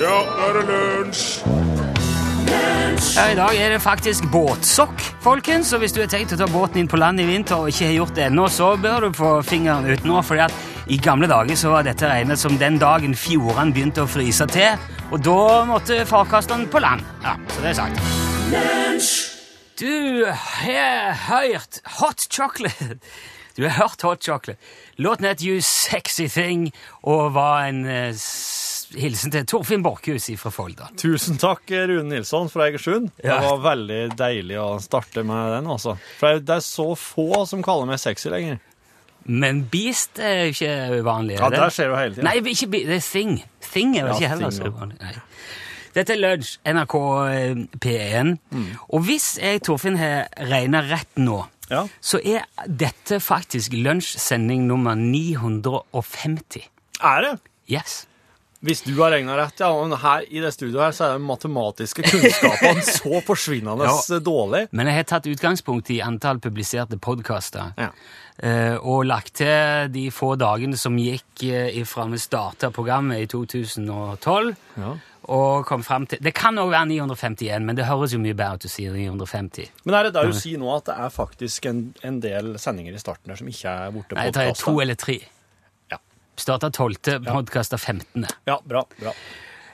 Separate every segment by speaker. Speaker 1: Ja, nå er det lunsj!
Speaker 2: Ja, I dag er det faktisk båtsokk, folkens. Så hvis du har tenkt å ta båten inn på land i vinter og ikke har gjort det ennå, så bør du få fingeren utenå. fordi at i gamle dager så var dette regnet som den dagen fjordene begynte å fryse til. Og da måtte farkastene på land. Ja, så det er sagt. Du har hørt Hot Chocolate. Du har hørt Hot Chocolate. Låten het You Sexy Thing og var en eh, s- hilsen til Torfinn Borchhus fra Folda.
Speaker 3: Tusen takk, Rune Nilsson fra Egersund.
Speaker 2: Ja.
Speaker 3: Det var veldig deilig å starte med den, altså. For det er så få som kaller meg sexy lenger.
Speaker 2: Men Beast er jo ikke uvanlig. er
Speaker 3: Ja,
Speaker 2: det?
Speaker 3: der skjer det hele tiden.
Speaker 2: Nei, ikke Beast, det er Thing. Thing er vel
Speaker 3: Ja,
Speaker 2: ikke heller
Speaker 3: Thing,
Speaker 2: så
Speaker 3: ja.
Speaker 2: uvanlig. Nei. Dette er Lunsj, NRK eh, P1.
Speaker 3: Mm.
Speaker 2: Og hvis jeg, Torfinn, har regna rett nå,
Speaker 3: Ja.
Speaker 2: så er dette faktisk lunsjsending nummer 950.
Speaker 3: Er det?
Speaker 2: Yes.
Speaker 3: Hvis du har regna rett, ja. Men her i det studioet her, så er de matematiske kunnskapene så forsvinnende
Speaker 2: Ja.
Speaker 3: dårlig.
Speaker 2: Men jeg har tatt utgangspunkt i antall publiserte podkaster.
Speaker 3: Ja.
Speaker 2: Eh, og lagt til de få dagene som gikk eh, ifra vi starta programmet i 2012.
Speaker 3: Ja.
Speaker 2: Og kom frem til Det kan òg være 951, men det høres jo mye bedre ut å si 950.
Speaker 3: Men er det der du sier nå at det er faktisk en, en del sendinger i starten her som ikke er borte
Speaker 2: Nei, jeg tar to
Speaker 3: podkasta?
Speaker 2: eller tre.
Speaker 3: Ja.
Speaker 2: Starta 12., podkasta 15.
Speaker 3: Ja, bra. bra.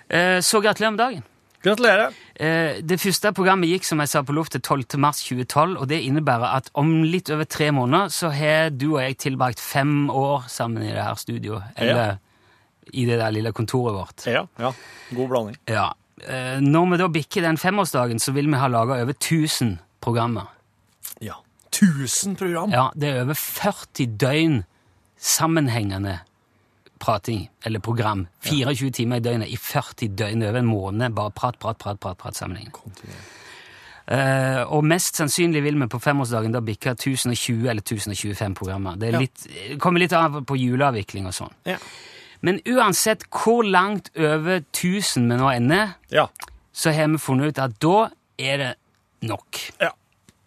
Speaker 2: Eh, så gratulerer med dagen.
Speaker 3: Gratulerer.
Speaker 2: Eh, Det første programmet gikk som jeg sa på luft til 12. mars 2012, og det innebærer at om litt over tre måneder så har du og jeg tilbrakt fem år sammen i det her studioet, eller i det der lille kontoret vårt.
Speaker 3: Ja, ja. God blanding.
Speaker 2: Ja. Eh, Når vi da bikker den femårsdagen, så vil vi ha laga over 1000 programmer.
Speaker 3: Ja. 1000 program!
Speaker 2: Ja, det er over 40 døgn sammenhengende prating, eller program. 24 timer i døgnet i 40 døgn over en måned. Bare prat, prat, prat, prat, prat sammenhengende. Eh, og mest sannsynlig vil vi på femårsdagen da bikke 1020 eller 1025 programmer. Det er
Speaker 3: Ja.
Speaker 2: litt, eh, kommer litt av på juleavvikling og sånn.
Speaker 3: Ja.
Speaker 2: Men uansett hvor langt over 1000 vi nå ender,
Speaker 3: ja.
Speaker 2: så har vi funnet ut at da er det nok.
Speaker 3: Ja.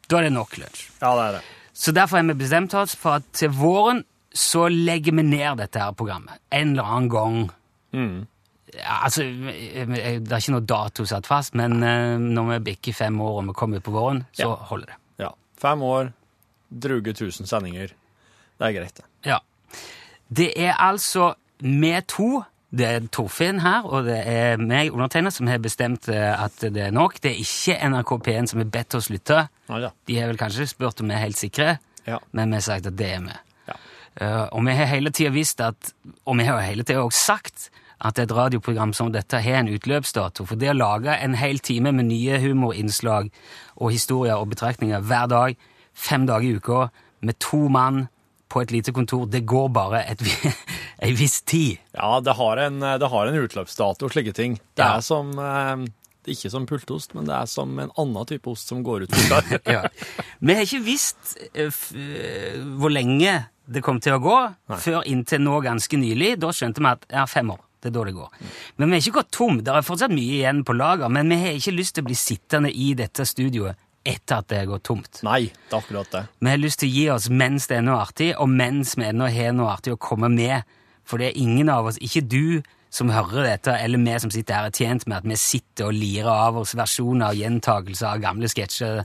Speaker 2: Da er det nok lunsj.
Speaker 3: Ja, det er det.
Speaker 2: Så derfor har vi bestemt oss for at til våren så legger vi ned dette her programmet. En eller annen gang. Ja, altså, eh, eh, det er ikke noe dato satt fast, men eh, når vi bikker fem år og vi kommer ut på våren, så
Speaker 3: Ja.
Speaker 2: holder det.
Speaker 3: Ja. Fem år, druge 1000 sendinger. Det er greit, det.
Speaker 2: Ja. Det er altså vi to, det er Torfinn her, og det er meg, undertegner, som har bestemt eh, at det er nok. Det er ikke NRK P1 som har bedt oss lytte.
Speaker 3: Nei da.
Speaker 2: De har vel kanskje spurt om vi er helt sikre,
Speaker 3: Ja.
Speaker 2: men vi har sagt at det er vi.
Speaker 3: Ja.
Speaker 2: Eh, og vi har hele tida visst at, og vi har jo hele tida også sagt, at et radioprogram som dette har en utløpsdato. For det å lage en hel time med nye humorinnslag og historier og betraktninger hver dag, fem dager i uka, med to mann på et lite kontor, det går bare et, vi- ei viss tid.
Speaker 3: ja det, har en, det har en utløpsdato, slike ting. Det
Speaker 2: Ja.
Speaker 3: er som eh, det er Ikke som pultost, men det er som en annen type ost som går ut fortere.
Speaker 2: Ja. Vi har ikke visst eh, f eh, hvor lenge det kom til å gå, før inntil nå ganske nylig. Da skjønte vi at ja, fem år. Det er da det går. Men vi har ikke gått tom. Det er fortsatt mye igjen på lager, men vi har ikke lyst til å bli sittende i dette studioet etter at det har gått tomt.
Speaker 3: Nei, det er akkurat det.
Speaker 2: Vi har lyst til å gi oss mens det er noe artig, og mens vi ennå har noe artig å komme med. For det er ingen av oss, ikke du som hører dette, eller vi som sitter her, er tjent med at vi sitter og lirer av oss versjoner og gjentakelser av gamle sketsjer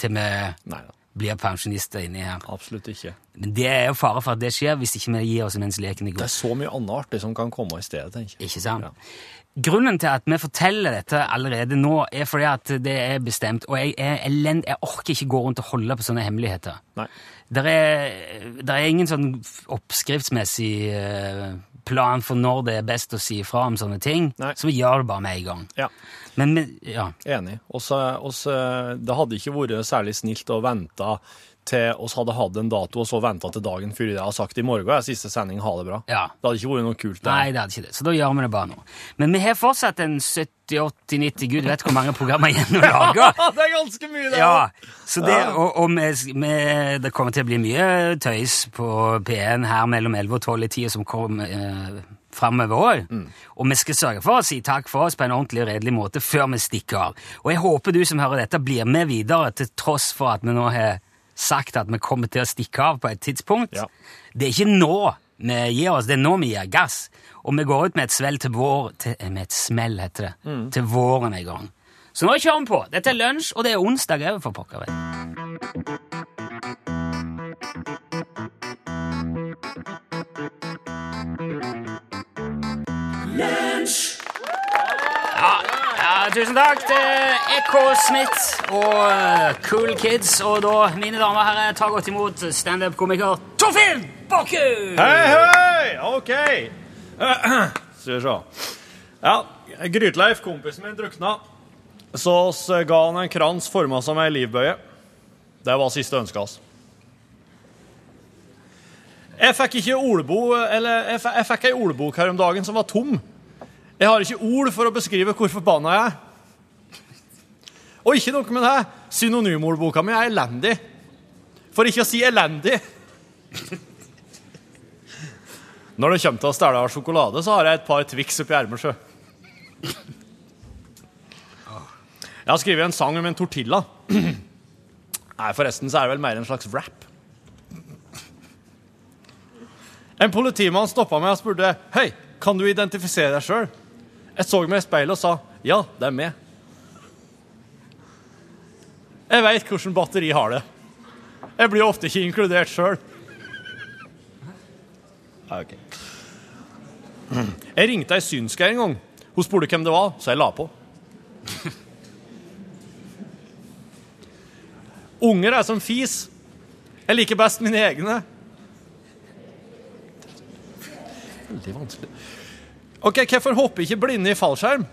Speaker 2: til vi
Speaker 3: Nei da.
Speaker 2: blir pensjonister inni her.
Speaker 3: Absolutt ikke.
Speaker 2: Men det er jo fare for at det skjer hvis ikke vi gir oss mens leken er
Speaker 3: Det
Speaker 2: god.
Speaker 3: er så mye annet artig som kan komme i stedet, tenker jeg.
Speaker 2: Ikke sant?
Speaker 3: Ja.
Speaker 2: Grunnen til at vi forteller dette allerede nå, er fordi at det er bestemt, og jeg er elend... Jeg orker ikke gå rundt og holde på sånne hemmeligheter.
Speaker 3: Nei.
Speaker 2: Der er, der er ingen sånn f- oppskriftsmessig eh, plan for når det er best å si fra om sånne ting,
Speaker 3: Nei.
Speaker 2: så vi gjør det bare med en gang.
Speaker 3: Ja,
Speaker 2: Men, men ja.
Speaker 3: enig. Oss, eh, oss, eh, det hadde ikke vært særlig snilt å vente til oss hadde hatt en dato, og så vente til dagen før jeg har sagt i morgen er siste sending, ha det bra.
Speaker 2: Ja.
Speaker 3: Det hadde ikke vært noe kult. det.
Speaker 2: Nei, det hadde ikke det. Så da gjør vi det bare nå. Men vi har fortsatt en 70-80-90 Gud vet hvor mange programmer igjen å lage.
Speaker 3: Ja, det er ganske mye, det.
Speaker 2: Ja, så det,
Speaker 3: Ja.
Speaker 2: og, og vi, vi, det kommer til å bli mye tøys på P1 her mellom 11 og 12 i tida som kommer eh, framover òg.
Speaker 3: Mm.
Speaker 2: Og vi skal sørge for å si takk for oss på en ordentlig og redelig måte før vi stikker av. Og jeg håper du som hører dette, blir med videre til tross for at vi nå har sagt at vi kommer til å stikke av på et tidspunkt.
Speaker 3: Ja.
Speaker 2: Det er ikke nå vi gir oss. Det er nå vi gir gass. Og vi går ut med et svell til vår til, eh, Med et smell, heter det. Til våren er i gang. Så nå kjører vi på. Dette er lunsj, og det er onsdag òg, for pokker. vet du. Ja, tusen takk til Ekko Smith og eh, Cool Kids. Og da, mine damer og herrer, ta godt imot standup-komiker Torfinn Bakkhus!
Speaker 3: Hei, hei! OK. Skal vi se. Ja, Grytleif, kompisen min, drukna. Så oss eh, ga han en krans forma som ei livbøye. Det var siste ønsket hans. Jeg fikk ikke ordbo, eller jeg fikk, jeg fikk ei ordbok her om dagen som var tom. Jeg har ikke ord for å beskrive hvor forbanna jeg er. Og ikke noe med det. Synonymordboka mi er elendig. For ikke å si elendig. Når det kommer til å stjele av sjokolade, så har jeg et par Twix oppi ermet. sjø. Jeg har skrevet en sang om en tortilla. Nei, forresten så er det vel mer en slags rap. En politimann stoppa meg og spurte Hei, kan du identifisere deg sjøl. Jeg så meg i speilet og sa ja, det er meg. Jeg veit hvordan batteri har det. Jeg blir ofte ikke inkludert sjøl. Jeg ringte ei synske en gang. Hun spurte hvem det var, så jeg la på. Unger er som fis. Jeg liker best mine egne. Veldig vanskelig. Ok, Hvorfor hopper ikke blinde i fallskjerm?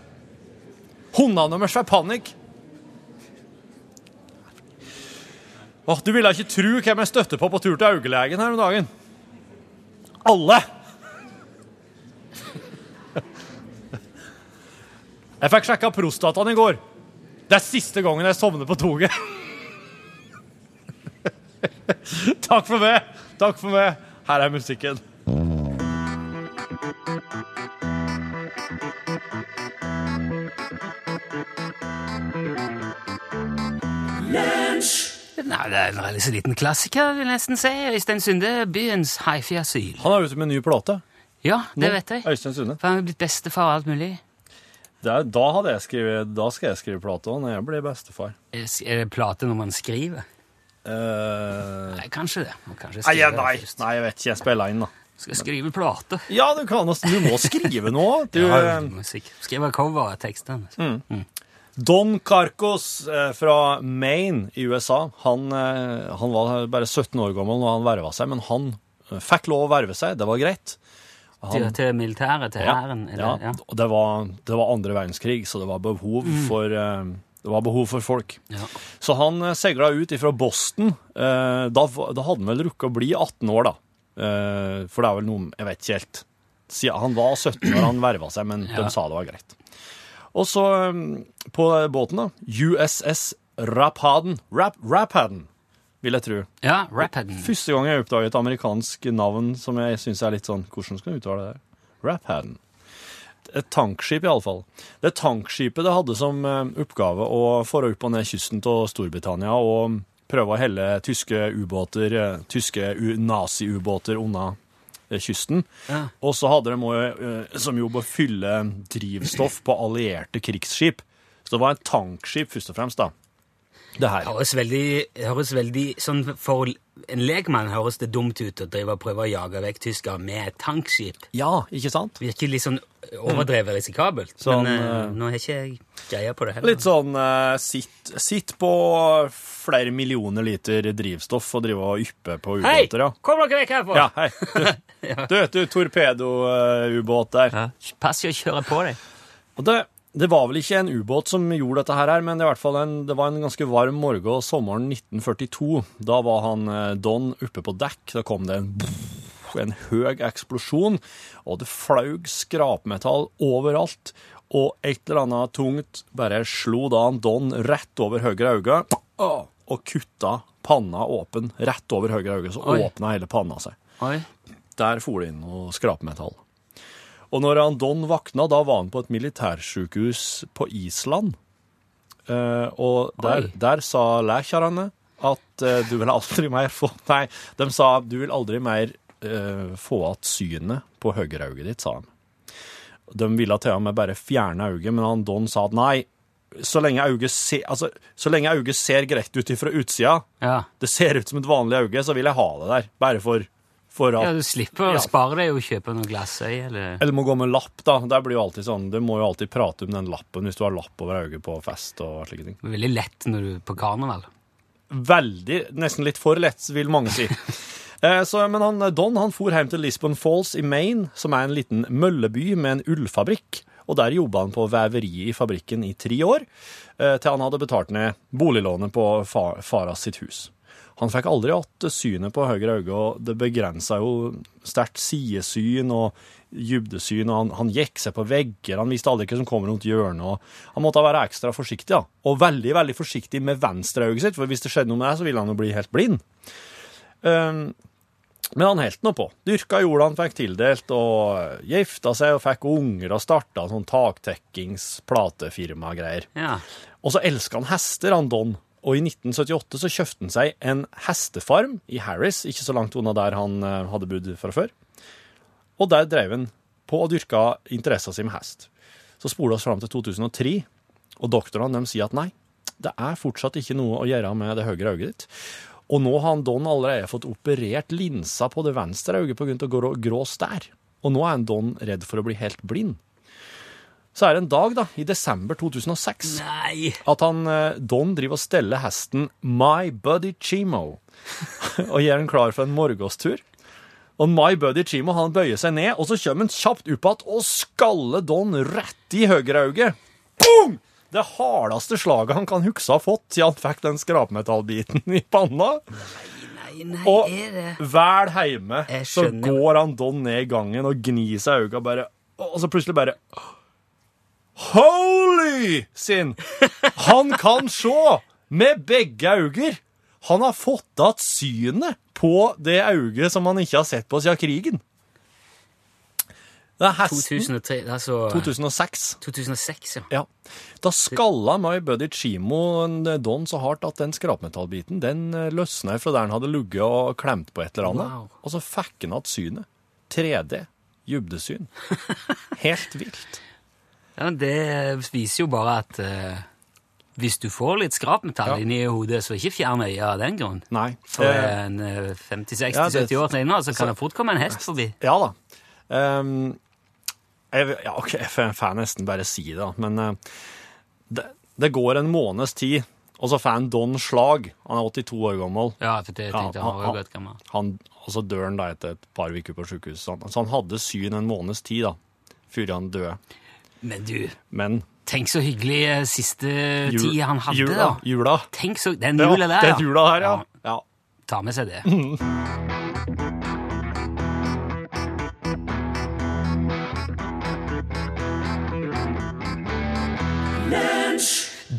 Speaker 3: Hundene deres får panikk. Åh, Du ville ikke tru hvem jeg støtte på på tur til augelegen her om dagen. Alle! Jeg fikk sjekka prostataen i går. Det er siste gangen jeg sovner på toget. Takk for meg. Takk for meg. Her er musikken.
Speaker 2: Nei, det er en veldig så liten klassiker, vil jeg nesten si. Øystein Sunde, byens hifi-asyl.
Speaker 3: Han er ute med en ny plate.
Speaker 2: Ja, det vet jeg.
Speaker 3: Øystein Sunde.
Speaker 2: For han er blitt bestefar og alt mulig.
Speaker 3: Det er, da, hadde jeg skrevet, da skal jeg skrive plate òg, når jeg blir bestefar.
Speaker 2: Er er det plate når man skriver?
Speaker 3: Eh,
Speaker 2: Nei, kanskje det. Man kanskje
Speaker 3: nei,
Speaker 2: skriver
Speaker 3: nei,
Speaker 2: det først.
Speaker 3: nei, jeg vet ikke. Jeg spiller inn, da.
Speaker 2: Skal skrive plate.
Speaker 3: Ja, du kan også- Du må skrive nå. Du,
Speaker 2: Ja,
Speaker 3: eh,
Speaker 2: musikk. Skrive cover av tekstene.
Speaker 3: Mm. Don Carcos eh, fra Maine i USA, han, eh, han var bare 17 år gammel når han verva seg, men han eh, fikk lov å verve seg, det var greit.
Speaker 2: Til, til militæret, til hæren.
Speaker 3: ja,
Speaker 2: eller- ja. Mm.
Speaker 3: og Det, var, det var andre verdenskrig, så det var behov for, eh, det var behov for folk.
Speaker 2: Ja.
Speaker 3: Så han eh, segla ut ifra Boston. Eh, da, var- da hadde han vel rukket å bli 18 år, da. Eh, for det er vel noe Jeg vet ikke helt. Siden Han var 17 når han verva seg, men
Speaker 2: Ja.
Speaker 3: de sa det var greit. Og så eh, på båten, da. USS Rapaden. Rap, Rapaden, vil jeg tro.
Speaker 2: Ja, Rapaden.
Speaker 3: Første gang jeg oppdaget et amerikansk navn som jeg syns er litt sånn Hvordan skal jeg uttale det? der? Raphaden. Et tankskip, iallfall. Det tankskipet det hadde som eh, oppgave å fare opp og ned kysten av Storbritannia og prøve å helle tyske ubåter, eh, tyske u- nazi-ubåter unna eh, kysten.
Speaker 2: Ja.
Speaker 3: Og så hadde de også, eh, som jobb å fylle drivstoff på allierte krigsskip. Så det var et tankskip, først og fremst, da. Det her.
Speaker 2: Det høres veldig, det høres veldig sånn For en lekmann høres det dumt ut å drive og prøve å jage vekk tyskere med et tankskip.
Speaker 3: Ja, ikke sant?
Speaker 2: Det virker litt sånn overdrevet risikabelt.
Speaker 3: Mm. Sånn,
Speaker 2: men eh,
Speaker 3: eh,
Speaker 2: nå har ikke jeg greia på det heller.
Speaker 3: Litt sånn eh, sitt, sitt på flere millioner liter drivstoff og drive og yppe på
Speaker 2: Hei!
Speaker 3: ubåter, ja.
Speaker 2: Kom dere vekk herfra!
Speaker 3: Ja, hei. Du, du, du torpedo-ubåt der.
Speaker 2: Ja. Pass i å kjøre på deg.
Speaker 3: Og det, det var vel ikke en ubåt som gjorde dette her, men det, er i hvert fall en, det var en ganske varm morgen og sommeren 1942. Da var han eh, Don oppe på dekk. Da kom det en, en høy eksplosjon, og det flaug skrapmetall overalt. Og et eller annet tungt bare slo da han Don rett over høyre øye og kutta panna åpen rett over høyre øye. Så
Speaker 2: Oi.
Speaker 3: åpna hele panna seg.
Speaker 2: Oi.
Speaker 3: Der for det inn noe skrapmetall. Og når han Don vakna, da var han på et militærsykehus på Island. Eh, og der,
Speaker 2: Oi.
Speaker 3: der sa lækjarene at eh, du vil aldri mer få Nei, de sa du vil aldri mer eh, få att synet på høyreauget ditt, sa han. De ville til og med bare fjerne auget, men han Don sa at nei, så lenge auget, se, altså, så lenge auget ser greit ut fra utsida,
Speaker 2: Ja.
Speaker 3: det ser ut som et vanlig auge, så vil jeg ha det der, bare for, for at
Speaker 2: ja, du slipper å
Speaker 3: Ja.
Speaker 2: spare deg å kjøpe noe glassøye, eller
Speaker 3: Eller må gå med lapp, da. Det blir jo alltid sånn, Du må jo alltid prate om den lappen hvis du har lapp over øyet på fest og slike ting.
Speaker 2: Veldig lett når du er på karneval.
Speaker 3: Veldig, nesten litt for lett, vil mange si. Eh, Så, men han, Don han for hjem til Lisbon Falls i Maine, som er en liten mølleby med en ullfabrikk. Og Der jobba han på veveriet i fabrikken i tre år, eh, til han hadde betalt ned boliglånet på fa- faras sitt hus. Han fikk aldri hatt synet på høyre øye, og det begrensa jo sterkt sidesyn og dybdesyn, og han, han gikk seg på vegger, han visste aldri hva som kom rundt hjørnet, og han måtte være ekstra forsiktig, da. Og veldig, veldig forsiktig med venstreøyet sitt, for hvis det skjedde noe med det, så ville han jo bli helt blind. Ehm, men han holdt nå på. Dyrka jorda han fikk tildelt, og gifta seg og fikk unger og starta sånn taktekkings-platefirma-greier.
Speaker 2: Ja.
Speaker 3: Og så elska han hester, han Don. Og i 1978 så kjøpte han seg en hestefarm i Harris, ikke så langt unna der han eh, hadde bodd fra før. Og der drev han på og dyrka interessen sin med hest. Så spoler vi oss fram til 2003, og doktorene de sier at nei, det er fortsatt ikke noe å gjøre med det høyre øyet ditt. Og nå har han Don allerede fått operert linsa på det venstre øyet pga. grå, grå stær. Og nå er han Don redd for å bli helt blind. Så er det en dag, da, i desember 2006
Speaker 2: Nei!
Speaker 3: at han, eh, Don driver og steller hesten My Buddy Chimo og gjør den klar for en morgenstur. Og My Buddy Chimo han bøyer seg ned, og så kommer han kjapt opp igjen og skaller Don rett i høyreauget. Boom! Det hardeste slaget han kan huske å ha fått siden han fikk den skrapmetallbiten i panna.
Speaker 2: Nei, nei,
Speaker 3: Og
Speaker 2: er det
Speaker 3: vel heime
Speaker 2: Jeg
Speaker 3: så
Speaker 2: skjønner.
Speaker 3: går han Don ned i gangen og gnir seg i øynene bare Og så plutselig bare Holy sin! Han kan se med begge øyne! Han har fått igjen synet på det øyet som han ikke har sett på siden krigen. Det er hesten
Speaker 2: 2003 Altså
Speaker 3: 2006.
Speaker 2: 2006, ja.
Speaker 3: Ja. Da skalla My Buddy Chimo en Don så hardt at den skrapmetallbiten den eh, løsna fra der den hadde ligget og klemt på et eller annet.
Speaker 2: Wow.
Speaker 3: Og så fikk han igjen synet. 3D. Dybdesyn. Helt vilt.
Speaker 2: ja. Det viser jo bare at eh, hvis du får litt skrapmetall
Speaker 3: Ja.
Speaker 2: inni hodet, så ikke fjern øya av den grunn.
Speaker 3: Nei.
Speaker 2: For
Speaker 3: eh,
Speaker 2: en eh, 50-60-70
Speaker 3: ja, det-
Speaker 2: år senere så kan det fort komme en hest forbi.
Speaker 3: Ja da. Ehm, jeg, vil- ja, ok, jeg får får nesten bare si det, da. Men eh, det, det går en måneds tid, og så får han Don slag. Han er 82 år gammel.
Speaker 2: Ja, for det tenkte jeg
Speaker 3: Ja,
Speaker 2: han var
Speaker 3: ja,
Speaker 2: jo godt gammel.
Speaker 3: han, og så dør han da etter et par uker på sykehus. Så han, så han hadde syn en måneds tid da, før han døde.
Speaker 2: Men du,
Speaker 3: Men
Speaker 2: tenk så hyggelig eh, siste
Speaker 3: jul-
Speaker 2: tid han hadde,
Speaker 3: jula,
Speaker 2: da.
Speaker 3: jula,
Speaker 2: Tenk så, Den
Speaker 3: Ja,
Speaker 2: jula der,
Speaker 3: den jula her, ja. ja.
Speaker 2: Ta med seg det.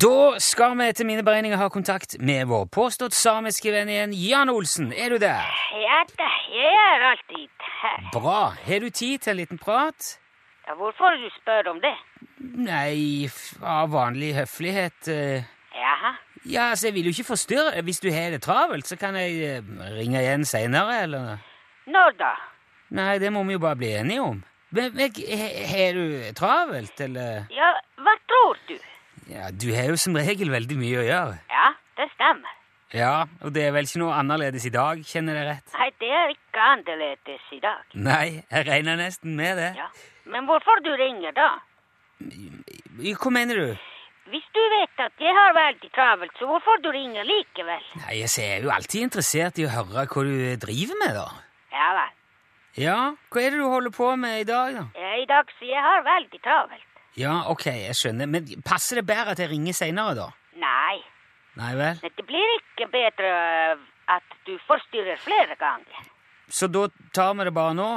Speaker 2: Da skal vi etter mine beregninger ha kontakt med vår påstått samiske venn igjen, Jan Olsen. Er du der?
Speaker 4: Ja da, jeg er alltid her.
Speaker 2: Bra. Har du tid til en liten prat?
Speaker 4: Ja, hvorfor du spør om det?
Speaker 2: Nei, f- av vanlig høflighet eh,
Speaker 4: Jaha.
Speaker 2: Ja, altså, jeg vil jo ikke forstyrre. Hvis du har det travelt, så kan jeg eh, ringe igjen seinere, eller
Speaker 4: Når da?
Speaker 2: Nei, det må vi jo bare bli enige om. Men, men he- har du travelt, eller
Speaker 4: Ja, hva tror du?
Speaker 2: Ja, du har jo som regel veldig mye å gjøre.
Speaker 4: Ja, det stemmer.
Speaker 2: Ja, og det er vel ikke noe annerledes i dag, kjenner jeg rett?
Speaker 4: Nei, det er ikke annerledes i dag.
Speaker 2: Nei, jeg regner nesten med det.
Speaker 4: Ja. Men hvorfor du ringer da?
Speaker 2: Hva mener du?
Speaker 4: Hvis du vet at jeg har veldig travelt, så hvorfor du ringer likevel?
Speaker 2: Nei, jeg ser- er jo alltid interessert i å høre hva du driver med, da.
Speaker 4: Ja vel.
Speaker 2: Ja, hva er det du holder på med i dag, da?
Speaker 4: Ja, I dag så jeg har veldig travelt.
Speaker 2: Ja, ok, jeg skjønner. Men passer det bedre at jeg ringer seinere, da?
Speaker 4: Nei,
Speaker 2: Nei vel?
Speaker 4: det blir ikke bedre øh, at du forstyrrer flere ganger.
Speaker 2: Så da tar vi det bare nå?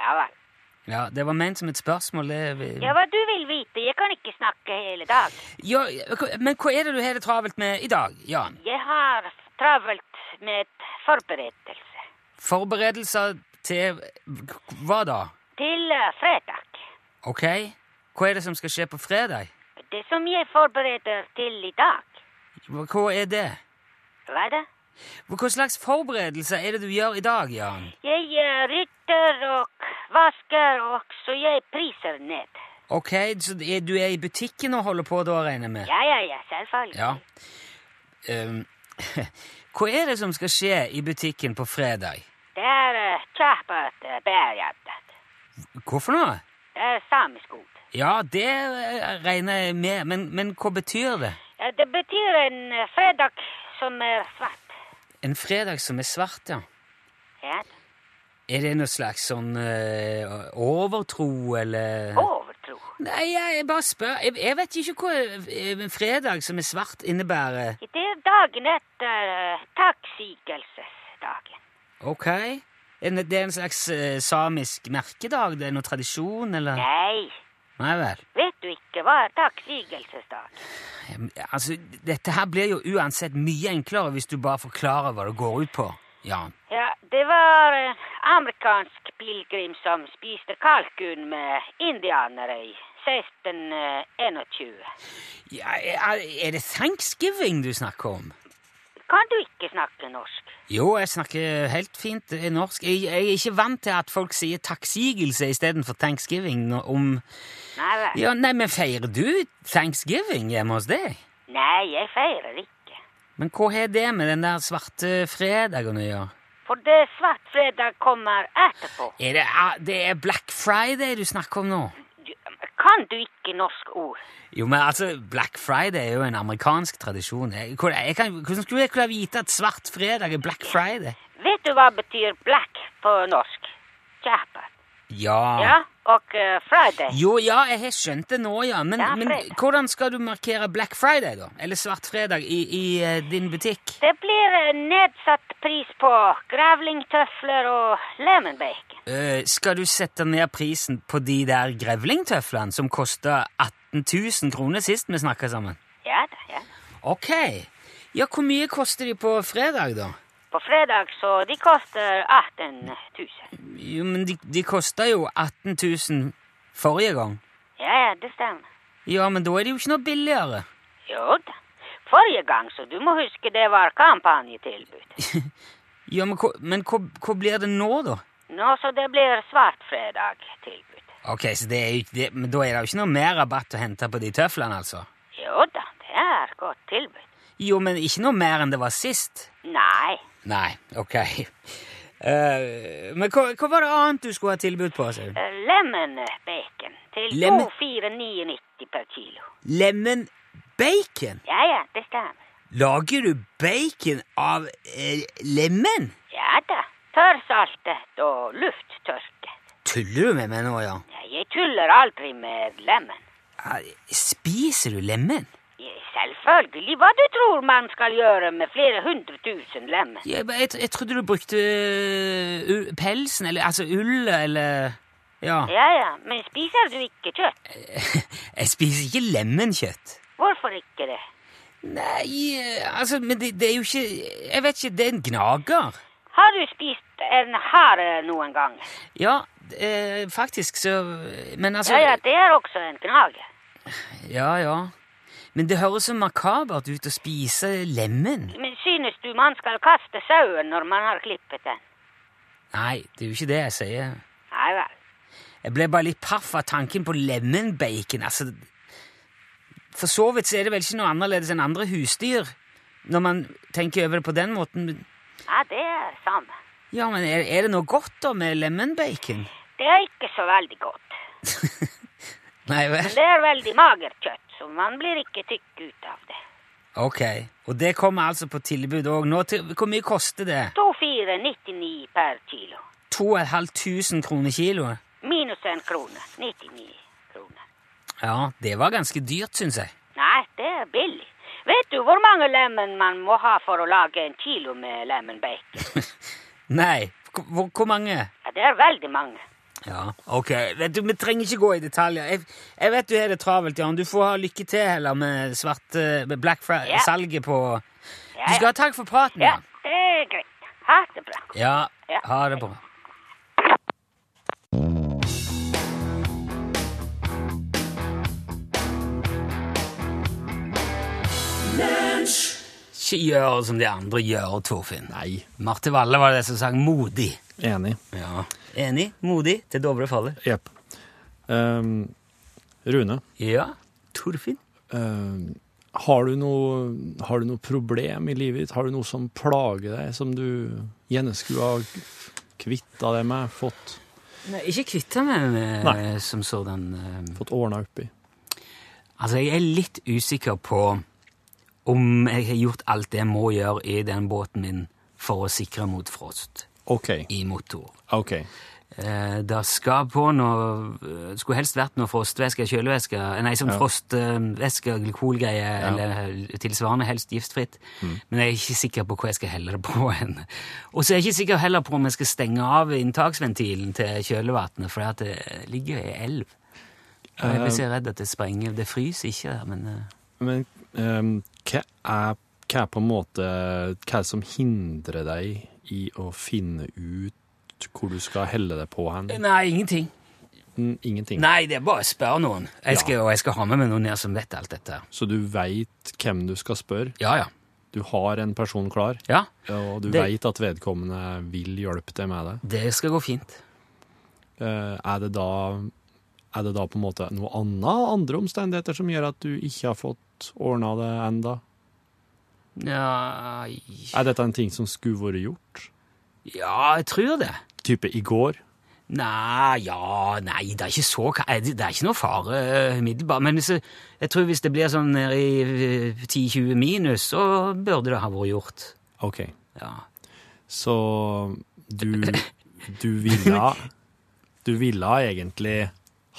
Speaker 4: Ja vel.
Speaker 2: Ja, det var ment som et spørsmål. Det...
Speaker 4: Ja, hva du vil vite, jeg kan ikke snakke hele dagen.
Speaker 2: Ja, men hva er det du har det travelt med i dag, Jan?
Speaker 4: Jeg har travelt med forberedelse
Speaker 2: Forberedelser til hva da?
Speaker 4: til eh, fredag.
Speaker 2: Ok, hva er det som skal skje på fredag?
Speaker 4: Det som jeg forbereder til i dag,
Speaker 2: Hva hva er det?
Speaker 4: hva er det?
Speaker 2: Hva slags forberedelser er det du gjør i dag, Jan?
Speaker 4: Jeg eh, rydder og vasker, og så jeg priser ned.
Speaker 2: Ok, så det er- du er i butikken og holder på da, regner jeg med?
Speaker 4: Ja, ja, ja, selvfølgelig.
Speaker 2: Ja. Ehm, hva er det som skal skje i butikken på fredag?
Speaker 4: Det er eh, kjappet eh, berget.
Speaker 2: Hva for noe?
Speaker 4: Det er samisk ord.
Speaker 2: Ja, det eh, regner jeg med, men, men hva betyr det?
Speaker 4: Ja, Det betyr en eh, fredag som er svart.
Speaker 2: En fredag som er svart, ja.
Speaker 4: Ja,
Speaker 2: Er det noe slags sånn eh, overtro, eller
Speaker 4: overtro.
Speaker 2: Nei, jeg, jeg bare spør. Jeg, jeg vet ikke hva eh, en fredag som er svart, innebærer.
Speaker 4: Det er dagen etter eh, takksigelsesdagen.
Speaker 2: Ok? En, det er en slags eh, samisk merkedag? Det er noe tradisjon, eller?
Speaker 4: Nei,
Speaker 2: Nei vel.
Speaker 4: vet du ikke hva er takksigelsesdag?
Speaker 2: Eh, Altså, dette her blir jo uansett mye enklere hvis du bare forklarer hva det går ut på. Ja.
Speaker 4: Ja, det var en amerikansk pilegrim som spiste kalkun med indianere i eh, 1621.
Speaker 2: ja er, er det thanksgiving du snakker om?
Speaker 4: Kan du ikke snakke norsk?
Speaker 2: Jo, jeg snakker helt fint eh, norsk. Jeg, jeg er ikke vant til at folk sier takksigelse istedenfor thanksgiving. nå- Om,
Speaker 4: Nei vel.
Speaker 2: ja, nei, men feirer du thanksgiving hjemme hos deg?
Speaker 4: Nei, jeg feirer ikke.
Speaker 2: Men hva har det med den der svarte fredagen å gjøre?
Speaker 4: For det svartfredag kommer etterpå.
Speaker 2: Er det, er, det er Black Friday du snakker om nå?
Speaker 4: Du- Kan du ikke norsk ord?
Speaker 2: Jo, men altså, Black Friday er jo en amerikansk tradisjon. Jeg, hvor- jeg kan, hvordan skulle jeg kunne vite at svart fredag er Black Friday?
Speaker 4: Vet du hva betyr black på norsk? Kjapet.
Speaker 2: Ja.
Speaker 4: Ja, og eh, friday.
Speaker 2: Jo, ja, jeg har skjønt det nå, ja. Men,
Speaker 4: Ja,
Speaker 2: men
Speaker 4: fredag.
Speaker 2: hvordan skal du markere Black Friday, da? Eller svart fredag i, i eh, din butikk?
Speaker 4: Det blir eh, nedsatt pris på gravlingtøfler og lemon bacon.
Speaker 2: Eh, skal du sette ned prisen på de der grevlingtøflene som kosta 18 000 kroner sist vi snakka sammen?
Speaker 4: Ja da, ja.
Speaker 2: Ok. Ja, hvor mye koster de på fredag, da?
Speaker 4: På fredag så de koster 18 000.
Speaker 2: Jo, men de, de kosta jo 18 000 forrige gang.
Speaker 4: Ja, ja, det stemmer.
Speaker 2: Ja, men da er det jo ikke noe billigere.
Speaker 4: Jo da. Forrige gang, så du må huske det var kampanjetilbud.
Speaker 2: Ja, Men, hva, men hva, hva blir det nå, da?
Speaker 4: Nå så det blir svartfredag-tilbud.
Speaker 2: Ok, så det er jo, ikke- det, men Da er det jo ikke noe mer rabatt å hente på de tøflene, altså?
Speaker 4: Jo da, det er godt tilbud.
Speaker 2: Jo, men ikke noe mer enn det var sist.
Speaker 4: Nei,
Speaker 2: Nei, ok. Eh, men hva, hva var det annet du skulle ha tilbud på? sa du?
Speaker 4: eh, lemon bacon til
Speaker 2: Lemon-
Speaker 4: 24990 per kilo.
Speaker 2: Lemon bacon?
Speaker 4: Ja, ja, det stemmer.
Speaker 2: Lager du bacon av eh, lemen?
Speaker 4: Ja da. Tørrsaltet og lufttørket.
Speaker 2: Tuller du med meg nå, ja?
Speaker 4: Ja, Jeg tuller aldri med lemon.
Speaker 2: Eh, Spiser du lemen?
Speaker 4: Ja, Selvfølgelig. Hva du tror man skal gjøre med flere hundre tusen lemon?
Speaker 2: Jeg, jeg, jeg trodde du brukte eh, u- pelsen, eller altså ull, eller Ja.
Speaker 4: Ja, ja, men spiser du ikke kjøtt?
Speaker 2: Jeg spiser ikke lemenkjøtt.
Speaker 4: Hvorfor ikke det?
Speaker 2: Nei, eh, altså, men det, det er jo ikke Jeg vet ikke, det er en gnager.
Speaker 4: Har du spist en hare noen gang?
Speaker 2: Ja, eh, faktisk, så Men altså
Speaker 4: Ja, ja, det er også en gnage.
Speaker 2: ja, ja. Men det høres så makabert ut å spise lemen.
Speaker 4: Men synes du man skal kaste sauen når man har klippet den?
Speaker 2: Nei, det er jo ikke det jeg sier.
Speaker 4: Nei vel.
Speaker 2: Jeg ble bare litt paff av tanken på lemenbacon. Altså, for så vidt så er det vel ikke noe annerledes enn andre husdyr, når man tenker over det på den måten. men-
Speaker 4: Ja, det er samme.
Speaker 2: Ja, men er, er det noe godt da med lemenbacon?
Speaker 4: Det er ikke så veldig godt.
Speaker 2: Nei vel?
Speaker 4: Det er veldig magert kjøtt, så man blir ikke tykk ut av det.
Speaker 2: Ok, og det kommer altså på tilbud òg nå. Til, hvor mye koster det?
Speaker 4: 2499 per kilo.
Speaker 2: 2500 kroner kiloet?
Speaker 4: Minus en krone. 99 kroner.
Speaker 2: Ja, det var ganske dyrt, syns jeg.
Speaker 4: Nei, det er billig. Vet du hvor mange lemon man må ha for å lage en kilo med lemon bacon?
Speaker 2: Nei, hvor, hvor- hvor mange?
Speaker 4: Ja, det er veldig mange.
Speaker 2: Ja, ok. Vet du, Vi trenger ikke gå i detaljer. Jeg, jeg vet du har det travelt, Jan. Du får ha lykke til heller med svarte med Black
Speaker 4: Ja.
Speaker 2: Friday-salget på
Speaker 4: Ja,
Speaker 2: Du skal ha takk for praten,
Speaker 4: ja,
Speaker 2: Jan.
Speaker 4: det er greit. Ha det bra.
Speaker 2: Ja,
Speaker 4: Ja.
Speaker 2: ha det bra. Ikke gjør som de andre gjør, Torfinn.
Speaker 3: Nei.
Speaker 2: Marte Valle var det som sang 'modig'.
Speaker 3: Enig.
Speaker 2: Ja. Enig. Modig til Dovre faller.
Speaker 3: Jepp. Ehm, Rune,
Speaker 2: Ja. Torfinn?
Speaker 3: ehm, har, du noe, har du noe problem i livet ditt? Har du noe som plager deg, som du gjerne skulle ha kvitta deg med, fått,
Speaker 2: Nei, ikke kvitta meg med
Speaker 3: Nei.
Speaker 2: som sådan. eh,
Speaker 3: fått ordna opp i?
Speaker 2: Altså, jeg er litt usikker på om jeg har gjort alt det jeg må gjøre i den båten min for å sikre mot frost
Speaker 3: OK.
Speaker 2: i motor.
Speaker 3: ok.
Speaker 2: Eh, det skal på noe eh, Det skulle helst vært noe frostvæske, kjølevæske eh, Nei, sånn
Speaker 3: Ja.
Speaker 2: frostvæske, glykolgreie eller tilsvarende, helst giftfritt.
Speaker 3: Mm.
Speaker 2: Men jeg er ikke sikker på hva jeg skal helle det på. enn. Og så er jeg ikke sikker heller på om jeg skal stenge av inntaksventilen til kjølevannet, for at det ligger jo i elv. Og jeg blir
Speaker 3: Eh.
Speaker 2: så redd at det sprenger. Det fryser ikke der, men eh,
Speaker 3: Men ehm, hva, er, hva er på en måte Hva er det som hindrer deg i å finne ut hvor du skal helle deg på hen?
Speaker 2: Nei, ingenting.
Speaker 3: Mm, Ingenting.
Speaker 2: Nei, det er bare å spørre noen. Jeg
Speaker 3: Ja.
Speaker 2: skal, Og jeg skal ha med meg noen her som vet alt dette.
Speaker 3: Så du veit hvem du skal spørre?
Speaker 2: Ja, ja.
Speaker 3: Du har en person klar,
Speaker 2: Ja,
Speaker 3: og du
Speaker 2: Det-
Speaker 3: veit at vedkommende vil hjelpe deg med det.
Speaker 2: Det skal gå fint.
Speaker 3: Eh, Er det da, er det da på en måte noe annet, andre omstendigheter som gjør at du ikke har fått ordna det enda?
Speaker 2: Ja,
Speaker 3: Er dette en ting som skulle vært gjort?
Speaker 2: ja, jeg tror det.
Speaker 3: Type i går?
Speaker 2: Nei, ja, nei, det er ikke så ka- Det det er ikke noe fare eh, umiddelbart. Men hvis, jeg- jeg tror hvis det blir sånn nede i eh, 10-20 minus, så burde det ha vært gjort.
Speaker 3: OK.
Speaker 2: Ja.
Speaker 3: Så du, du ville Du ville egentlig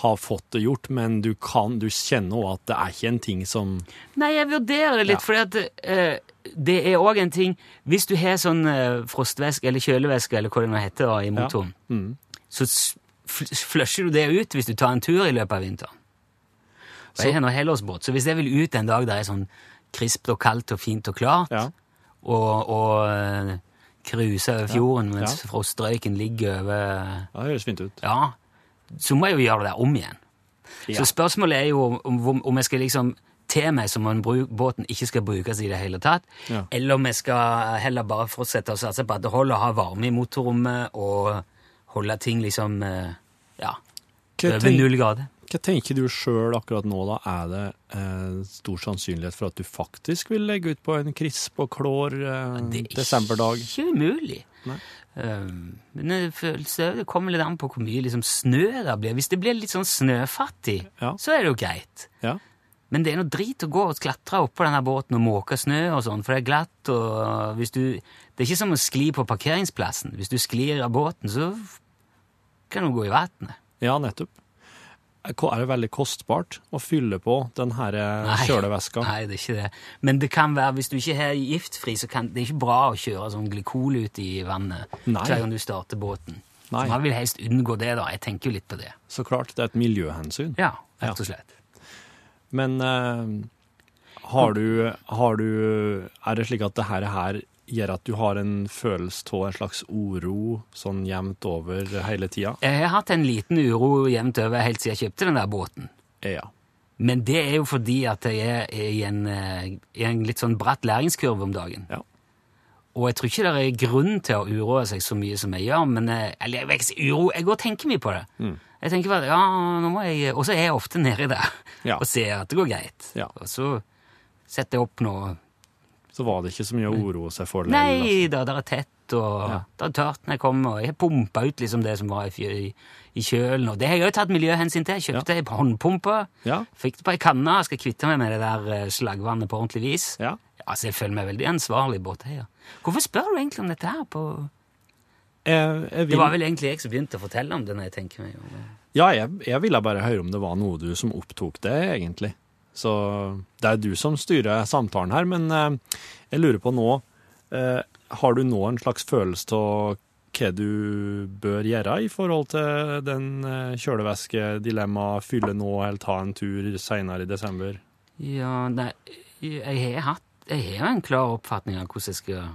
Speaker 3: ha fått det gjort, men du kan, du kjenner òg at det er ikke en ting som
Speaker 2: Nei, jeg vurderer det litt, fordi at eh, det er òg en ting Hvis du har sånn eh, frostvæske eller kjølevæske eller hva det nå heter i motoren,
Speaker 3: mm.
Speaker 2: så s- fl flusher du det ut hvis du tar en tur i løpet av vinteren. Og
Speaker 3: Så-
Speaker 2: jeg har nå helårsbåt, så hvis jeg vil ut en dag der det er sånn krispt og kaldt og fint og klart,
Speaker 3: Ja.
Speaker 2: og, og eh, cruise over fjorden mens
Speaker 3: ja.
Speaker 2: frostrøyken ligger over
Speaker 3: Ja, Det høres fint ut.
Speaker 2: Ja, så må jeg jo gjøre det der om igjen.
Speaker 3: Ja.
Speaker 2: Så spørsmålet er jo om, om, om jeg skal liksom til meg som om bru- båten ikke skal brukes i det hele tatt,
Speaker 3: Ja.
Speaker 2: eller om jeg skal heller bare fortsette å satse på at det holder å ha varme i motorrommet og holde ting liksom eh, ja,
Speaker 3: Hva
Speaker 2: over
Speaker 3: tenk-
Speaker 2: null grader.
Speaker 3: Hva tenker du sjøl akkurat nå, da? Er det eh, stor sannsynlighet for at du faktisk vil legge ut på en krisp og klår eh, desemberdag?
Speaker 2: ikke umulig.
Speaker 3: Nei.
Speaker 2: Um, men det, føles, det kommer litt an på hvor mye liksom, snø det blir. Hvis det blir litt sånn snøfattig,
Speaker 3: Ja.
Speaker 2: så er det jo greit.
Speaker 3: Ja.
Speaker 2: Men det er noe drit å gå og klatre oppå denne båten og måke snø og sånn, for det er glatt og hvis du Det er ikke som å skli på parkeringsplassen. Hvis du sklir av båten, så kan du gå i vannet.
Speaker 3: ja, nettopp. Ko- Er det veldig kostbart å fylle på den her eh, kjøleveska?
Speaker 2: Nei, det er ikke det. Men det kan være, hvis du ikke er giftfri, så kan det er ikke bra å kjøre sånn glykol ut i vannet
Speaker 3: Nei.
Speaker 2: hver gang du starter båten. Så
Speaker 3: Nei.
Speaker 2: man vil helst unngå det, da. Jeg tenker jo litt på det.
Speaker 3: Så klart, det er et miljøhensyn.
Speaker 2: Ja, rett og slett.
Speaker 3: Men eh, har, du, har du Er det slik at det her, her gjør at du har en følelse av en slags uro sånn jevnt over hele tida?
Speaker 2: Jeg har hatt en liten uro jevnt over helt siden jeg kjøpte den der båten.
Speaker 3: Ja.
Speaker 2: Men det er jo fordi at jeg er i en, eh, i en litt sånn bratt læringskurve om dagen.
Speaker 3: Ja.
Speaker 2: Og jeg tror ikke det er grunn til å uroe seg så mye som jeg gjør, men eh, eller, jeg, vet ikke, uro, jeg går og tenker mye på det.
Speaker 3: Mm.
Speaker 2: Jeg tenker bare, ja, nå må jeg, Og så er jeg ofte nedi der
Speaker 3: Ja.
Speaker 2: og ser at det går greit.
Speaker 3: Ja.
Speaker 2: Og så setter jeg opp noe
Speaker 3: Så var det ikke så mye å uroe seg for. altså. likevel, da.
Speaker 2: Nei da, det er tett, og
Speaker 3: Ja.
Speaker 2: det er tørt når jeg kommer, og jeg har pumpa ut liksom det som var i, fjø- i, i kjølen. Og det har jeg òg tatt miljøhensyn til. Jeg kjøpte ei håndpumpe,
Speaker 3: Ja.
Speaker 2: fikk det på ei kanne, jeg skal kvitte meg med det der eh, slagvannet på ordentlig vis.
Speaker 3: Ja.
Speaker 2: Altså, jeg føler meg veldig ansvarlig båteier. Hvorfor spør du egentlig om dette her? på...
Speaker 3: Jeg,
Speaker 2: Det
Speaker 3: jeg vil,
Speaker 2: var vel egentlig jeg som begynte å fortelle om det. når jeg tenker meg om. det.
Speaker 3: Ja, jeg, jeg ville bare høre om det var noe du som opptok det, egentlig. Så det er du som styrer samtalen her, men eh, jeg lurer på nå eh, Har du nå en slags følelse av hva du bør gjøre i forhold til den eh, kjølevæskedilemmaet, fylle nå eller ta en tur seinere i desember?
Speaker 2: Ja, nei, jeg har hatt Jeg har jo en klar oppfatning av hvordan jeg skal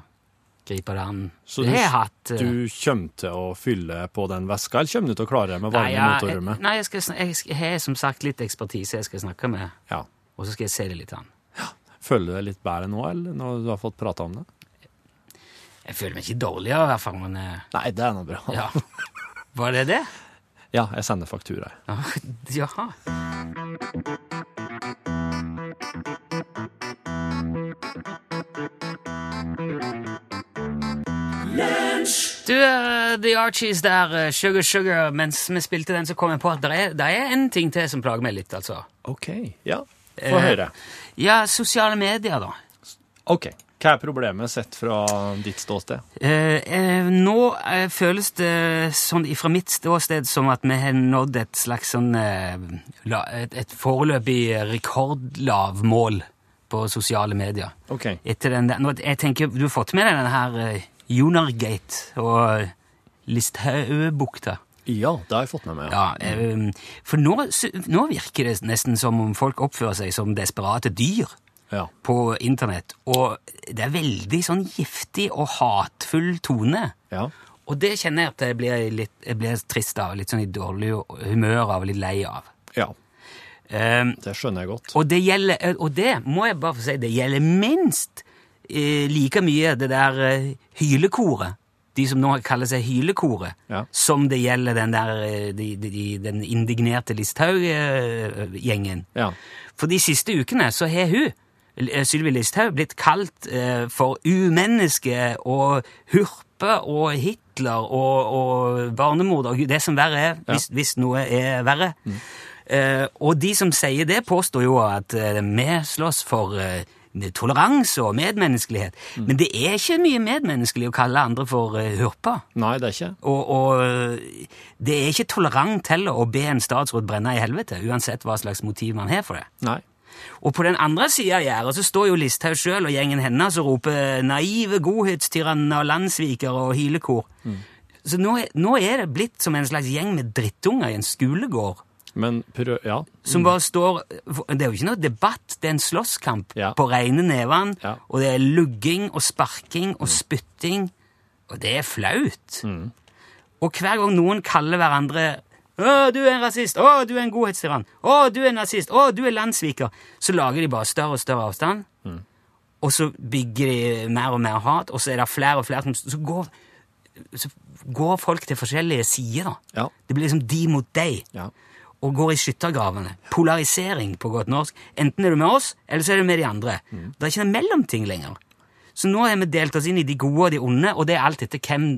Speaker 2: gripe det an.
Speaker 3: Så
Speaker 2: det
Speaker 3: du-
Speaker 2: har jeg hatt. eh,
Speaker 3: Du kommer til å fylle på den væska, eller kommer du til å klare deg med varme
Speaker 2: nei,
Speaker 3: i
Speaker 2: ja, jeg-
Speaker 3: motorrommet?
Speaker 2: Nei, jeg, skal, snak- jeg, sk- jeg har som sagt litt ekspertise jeg skal snakke med,
Speaker 3: Ja.
Speaker 2: og så skal jeg se det litt an.
Speaker 3: Føler du deg litt bedre nå, eller når du har fått prata om det?
Speaker 2: Jeg føler meg ikke dårligere, i hvert fall, men eh,
Speaker 3: Nei, det er nå bra. Ja,
Speaker 2: ja. Var det det?
Speaker 3: jeg sender faktura. jeg.
Speaker 2: Ah, Ja, Jaha. Du, eh, The Archies der, eh, Sugar Sugar, mens vi spilte den, så kom jeg på at det er, der er en ting til som plager meg litt, altså.
Speaker 3: OK. Ja, få
Speaker 2: Eh.
Speaker 3: høre.
Speaker 2: Ja, sosiale medier, da.
Speaker 3: OK. Hva er problemet sett fra ditt ståsted?
Speaker 2: Eh, eh, nå eh, føles det sånn fra mitt ståsted som at vi har nådd et slags sånn eh, la, et, et foreløpig rekordlavmål på sosiale medier.
Speaker 3: OK.
Speaker 2: Etter den der, nå, jeg tenker, Du har fått med deg denne her eh, Jonergate og Listhaugbukta.
Speaker 3: Ja, det har jeg fått med meg.
Speaker 2: Ja, eh, for nå, sy- nå virker det nesten som om folk oppfører seg som desperate dyr
Speaker 3: Ja.
Speaker 2: på internett. Og det er veldig sånn giftig og hatefull tone.
Speaker 3: ja.
Speaker 2: Og det kjenner jeg at jeg blir, litt, jeg blir trist av, litt sånn i dårlig humør av, litt lei av.
Speaker 3: Ja,
Speaker 2: Ehm,
Speaker 3: det skjønner jeg godt.
Speaker 2: og det gjelder, eh, og det må jeg bare få si, det gjelder minst eh, like mye det der eh, hylekoret, de som nå kaller seg hylekoret,
Speaker 3: Ja.
Speaker 2: som det gjelder den der, eh, de, de, de, den indignerte eh, Listhaug-gjengen.
Speaker 3: Ja.
Speaker 2: For de siste ukene så har hun, eh, Sylvi Listhaug, blitt kalt eh, for umenneske og hurpe og Hitler og, og barnemord og gud, det som verre er, hvis, hvis noe er verre. Eh, og de som sier det, påstår jo at eh, vi slåss for eh, toleranse og medmenneskelighet. Men det er ikke mye medmenneskelig å kalle andre for eh, hurpe.
Speaker 3: Nei, det er ikke.
Speaker 2: Og, og det er ikke tolerant heller å be en statsråd brenne i helvete, uansett hva slags motiv man har for det.
Speaker 3: Nei.
Speaker 2: Og på den andre sida av gjerdet så står jo Listhaug sjøl og gjengen hennes og roper naive godhetstyranner og landssvikere og hylekor. Så nå, er- nå er det blitt som en slags gjeng med drittunger i en skolegård.
Speaker 3: Men prøv Ja.
Speaker 2: Som bare står Det er jo ikke noe debatt, det er en slåsskamp
Speaker 3: Ja.
Speaker 2: på reine neven.
Speaker 3: Ja.
Speaker 2: Og det er lugging og sparking og spytting. Og det er flaut.
Speaker 3: Mm.
Speaker 2: Og hver gang noen kaller hverandre å, du er en rasist! Å, du er en godhetstyrann! Å, du er nazist! Å, du er landssviker! Så lager de bare større og større avstand,
Speaker 3: Mm.
Speaker 2: og så bygger de mer og mer hat, og så er det flere og flere som Så går, så går folk til forskjellige sider, da.
Speaker 3: Ja.
Speaker 2: Det blir liksom de mot deg
Speaker 3: Ja.
Speaker 2: og går i skyttergravene. Polarisering på godt norsk. Enten er du med oss, eller så er du med de andre. Det er ikke noen mellomting lenger. Så nå har vi delt oss inn i de gode og de onde, og det er alt etter hvem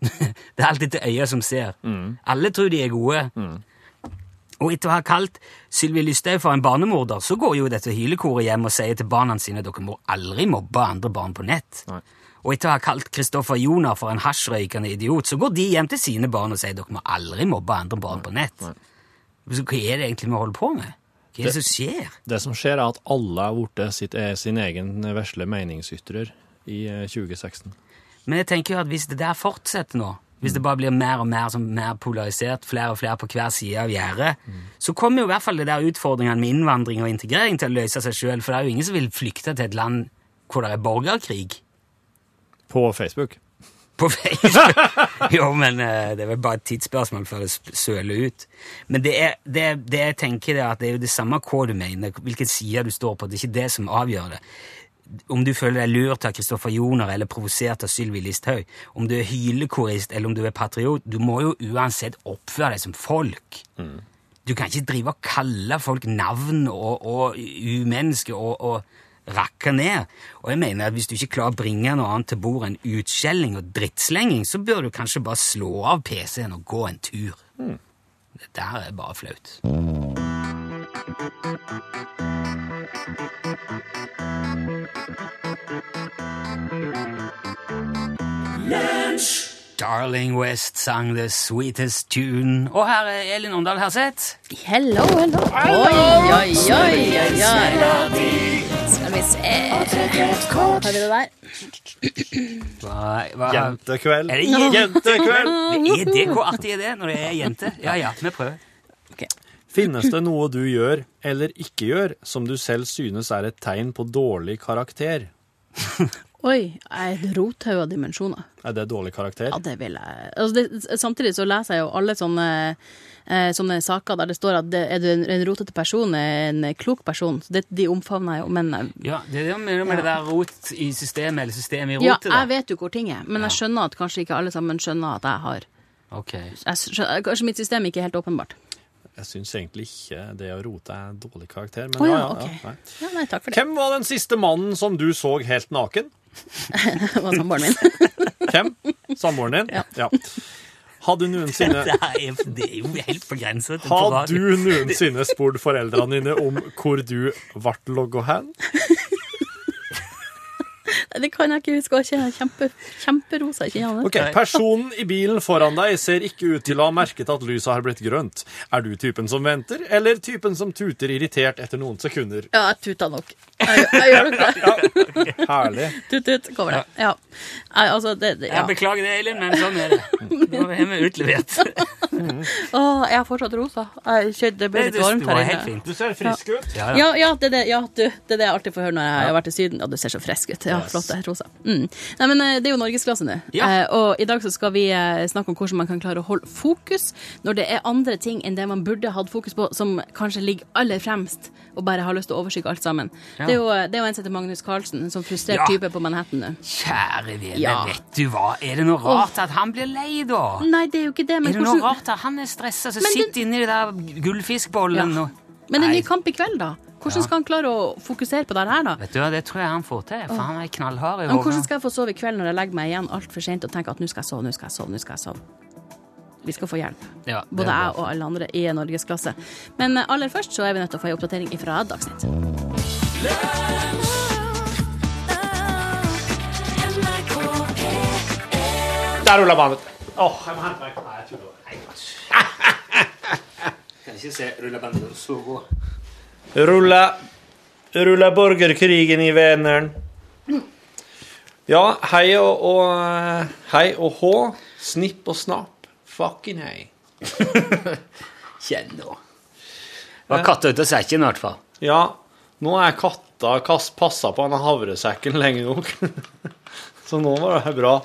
Speaker 2: Det er alt etter øyet som ser. Alle tror de er gode. Og etter å ha kalt Sylvi Lysthaug for en barnemorder, så går jo dette hylekoret hjem og sier til barna sine dere må aldri mobbe andre barn på nett.
Speaker 3: Nei.
Speaker 2: Og etter å ha kalt Kristoffer Joner for en hasjrøykende idiot, så går de hjem til sine barn og sier dere må aldri mobbe andre barn på nett. Så hva er det egentlig vi holder på med? Hva er det som skjer?
Speaker 3: Det som skjer, er at alle er borte sitt, er sin egen vesle meningsytrer i eh, 2016.
Speaker 2: Men jeg tenker jo at hvis det der fortsetter nå, hvis det bare blir mer og mer, som, mer polarisert, flere og flere på hver side av gjerdet, så kommer jo i hvert fall det der utfordringene med innvandring og integrering til å løse seg sjøl, for det er jo ingen som vil flykte til et land hvor det er borgerkrig.
Speaker 3: På Facebook.
Speaker 2: På Facebook. jo, men eh, det er vel bare et tidsspørsmål før det sp- søler ut. Men det, er, det, det jeg tenker det er at det er jo det samme hva du mener, hvilken side du står på, det er ikke det som avgjør det. Om du føler deg lurt av Kristoffer Joner eller provosert av Sylvi Listhaug, om du er hylekorist eller om du er patriot, du må jo uansett oppføre deg som folk. Du kan ikke drive og kalle folk navn og, og umenneske og, og rakke ned. Og jeg mener at hvis du ikke klarer å bringe noe annet til bordet enn utskjelling og drittslenging, så bør du kanskje bare slå av PC-en og gå en tur. Det der er bare flaut. Darling West sang The Sweetest Tune. Og her er Elin Åndal Herseth.
Speaker 5: Hello, hello. Oi, oi, oi, oi, oi. Skal vi se Har vi det der?
Speaker 2: Hva, hva,
Speaker 3: Jentekveld.
Speaker 2: Er det jen-
Speaker 3: Jentekveld!
Speaker 2: Er det hvor artig er det når det er jente? Ja ja, vi prøver.
Speaker 3: Finnes det noe du gjør eller ikke gjør som du selv synes er et tegn på dårlig karakter?
Speaker 5: Oi, jeg er et rothaug av dimensjoner.
Speaker 3: Er det dårlig karakter?
Speaker 5: Ja, det vil jeg. Altså, det, samtidig så leser jeg jo alle sånne, eh, sånne saker der det står at det, er du en, en rotete person, er en klok person. Så det, de omfavner jeg jo, men eh,
Speaker 2: Ja, det er det med, med det der rot i systemet, eller systemet i
Speaker 5: Ja,
Speaker 2: rotet.
Speaker 5: jeg
Speaker 2: da.
Speaker 5: vet jo hvor ting er, men jeg skjønner at kanskje ikke alle sammen skjønner at jeg har
Speaker 2: Ok.
Speaker 5: jeg skjønner, Kanskje mitt system ikke er helt åpenbart.
Speaker 3: Jeg syns egentlig ikke det å rote er dårlig karakter, men
Speaker 5: Å ja,
Speaker 3: ja, ja,
Speaker 5: ok.
Speaker 3: ja, nei.
Speaker 5: Ja, nei, takk for det.
Speaker 3: Hvem var den siste mannen som du så helt naken?
Speaker 5: Det var samboeren min.
Speaker 3: Hvem? Samboeren din? Ja. Hadde du noensinne
Speaker 2: Det er, det er jo helt på grensa til
Speaker 3: Har
Speaker 2: radio.
Speaker 3: du noensinne spurt foreldrene dine om hvor du ble logget hen?
Speaker 5: Det kan jeg ikke huske. og Jeg er kjempe, kjemperosa. altså. Ikke jeg,
Speaker 3: Ok, Personen i bilen foran deg ser ikke ut til å ha merket at lyset har blitt grønt. Er du typen som venter, eller typen som tuter irritert etter noen sekunder?
Speaker 5: ja, jeg tuta nok. Jeg, jeg gjør nok det.
Speaker 3: Herlig.
Speaker 5: Tut, tut, kommer det. Ja. Nei, altså, det, det ja.
Speaker 2: Jeg beklager det, Elin, men sånn er det. Nå er vi utlevert.
Speaker 5: Å, jeg er fortsatt rosa. Jeg, shit, det ble
Speaker 2: Det,
Speaker 5: litt
Speaker 2: det,
Speaker 5: varmt
Speaker 2: var
Speaker 5: her
Speaker 2: helt
Speaker 5: inne.
Speaker 2: fint.
Speaker 3: Du ser frisk ut.
Speaker 2: Ja, ja.
Speaker 5: Ja, ja, det, er det, ja du, det er det jeg alltid får høre når jeg har vært i Syden. Ja, du ser så frisk ut. Ja, flott, det er rosa. Mm. Nei, men eh, det er jo norgesklasse nå.
Speaker 2: Ja.
Speaker 5: Eh, og i dag så skal vi eh, snakke om hvordan man kan klare å holde fokus når det er andre ting enn det man burde hatt fokus på, som kanskje ligger aller fremst, og bare har lyst til å overskygge alt sammen. Det, er jo, det er jo en som heter Magnus Carlsen, en sånn frustrert
Speaker 2: Ja.
Speaker 5: type på Manhattan nå.
Speaker 2: Kjære vene,
Speaker 5: Ja.
Speaker 2: vet du hva? Er det noe rart at han blir lei, da?
Speaker 5: Nei, det er jo ikke det, men
Speaker 2: Er det noe
Speaker 5: hvordan
Speaker 2: rart at han er stressa, så
Speaker 5: Men den-
Speaker 2: sitter inni den der gullfiskbollen
Speaker 5: Ja.
Speaker 2: og
Speaker 5: Men det er en ny
Speaker 2: Nei.
Speaker 5: kamp i kveld, da. Hvordan
Speaker 2: Ja.
Speaker 5: skal han klare å fokusere på det her, da?
Speaker 2: Vet du hva, det tror jeg han får til, for han er knallhard i
Speaker 5: Men hvordan
Speaker 2: hodet.
Speaker 5: skal jeg få sove i kveld når jeg legger meg igjen altfor sent og tenker at nå skal jeg sove, nå skal jeg sove, nå skal jeg sove? Vi skal få hjelp.
Speaker 2: Ja, det er
Speaker 5: Både
Speaker 2: bra.
Speaker 5: jeg og alle andre i norgesklasse. Men eh, aller først så er vi nødt til å få ei oppdatering ifra Dagsnytt.
Speaker 3: Der ruller banen. Åh, jeg må hente meg. Nei, jeg tuller. Rulla Rulla borgerkrigen i Vänern. Ja, hei og, og Hei og hå. Snipp og snapp. Fucking hei.
Speaker 2: Kjenn nå. Var katta ute av sekken, i hvert fall.
Speaker 3: Ja, nå er katta kast passa på denne havresekken lenge nok. Så nå var det bra.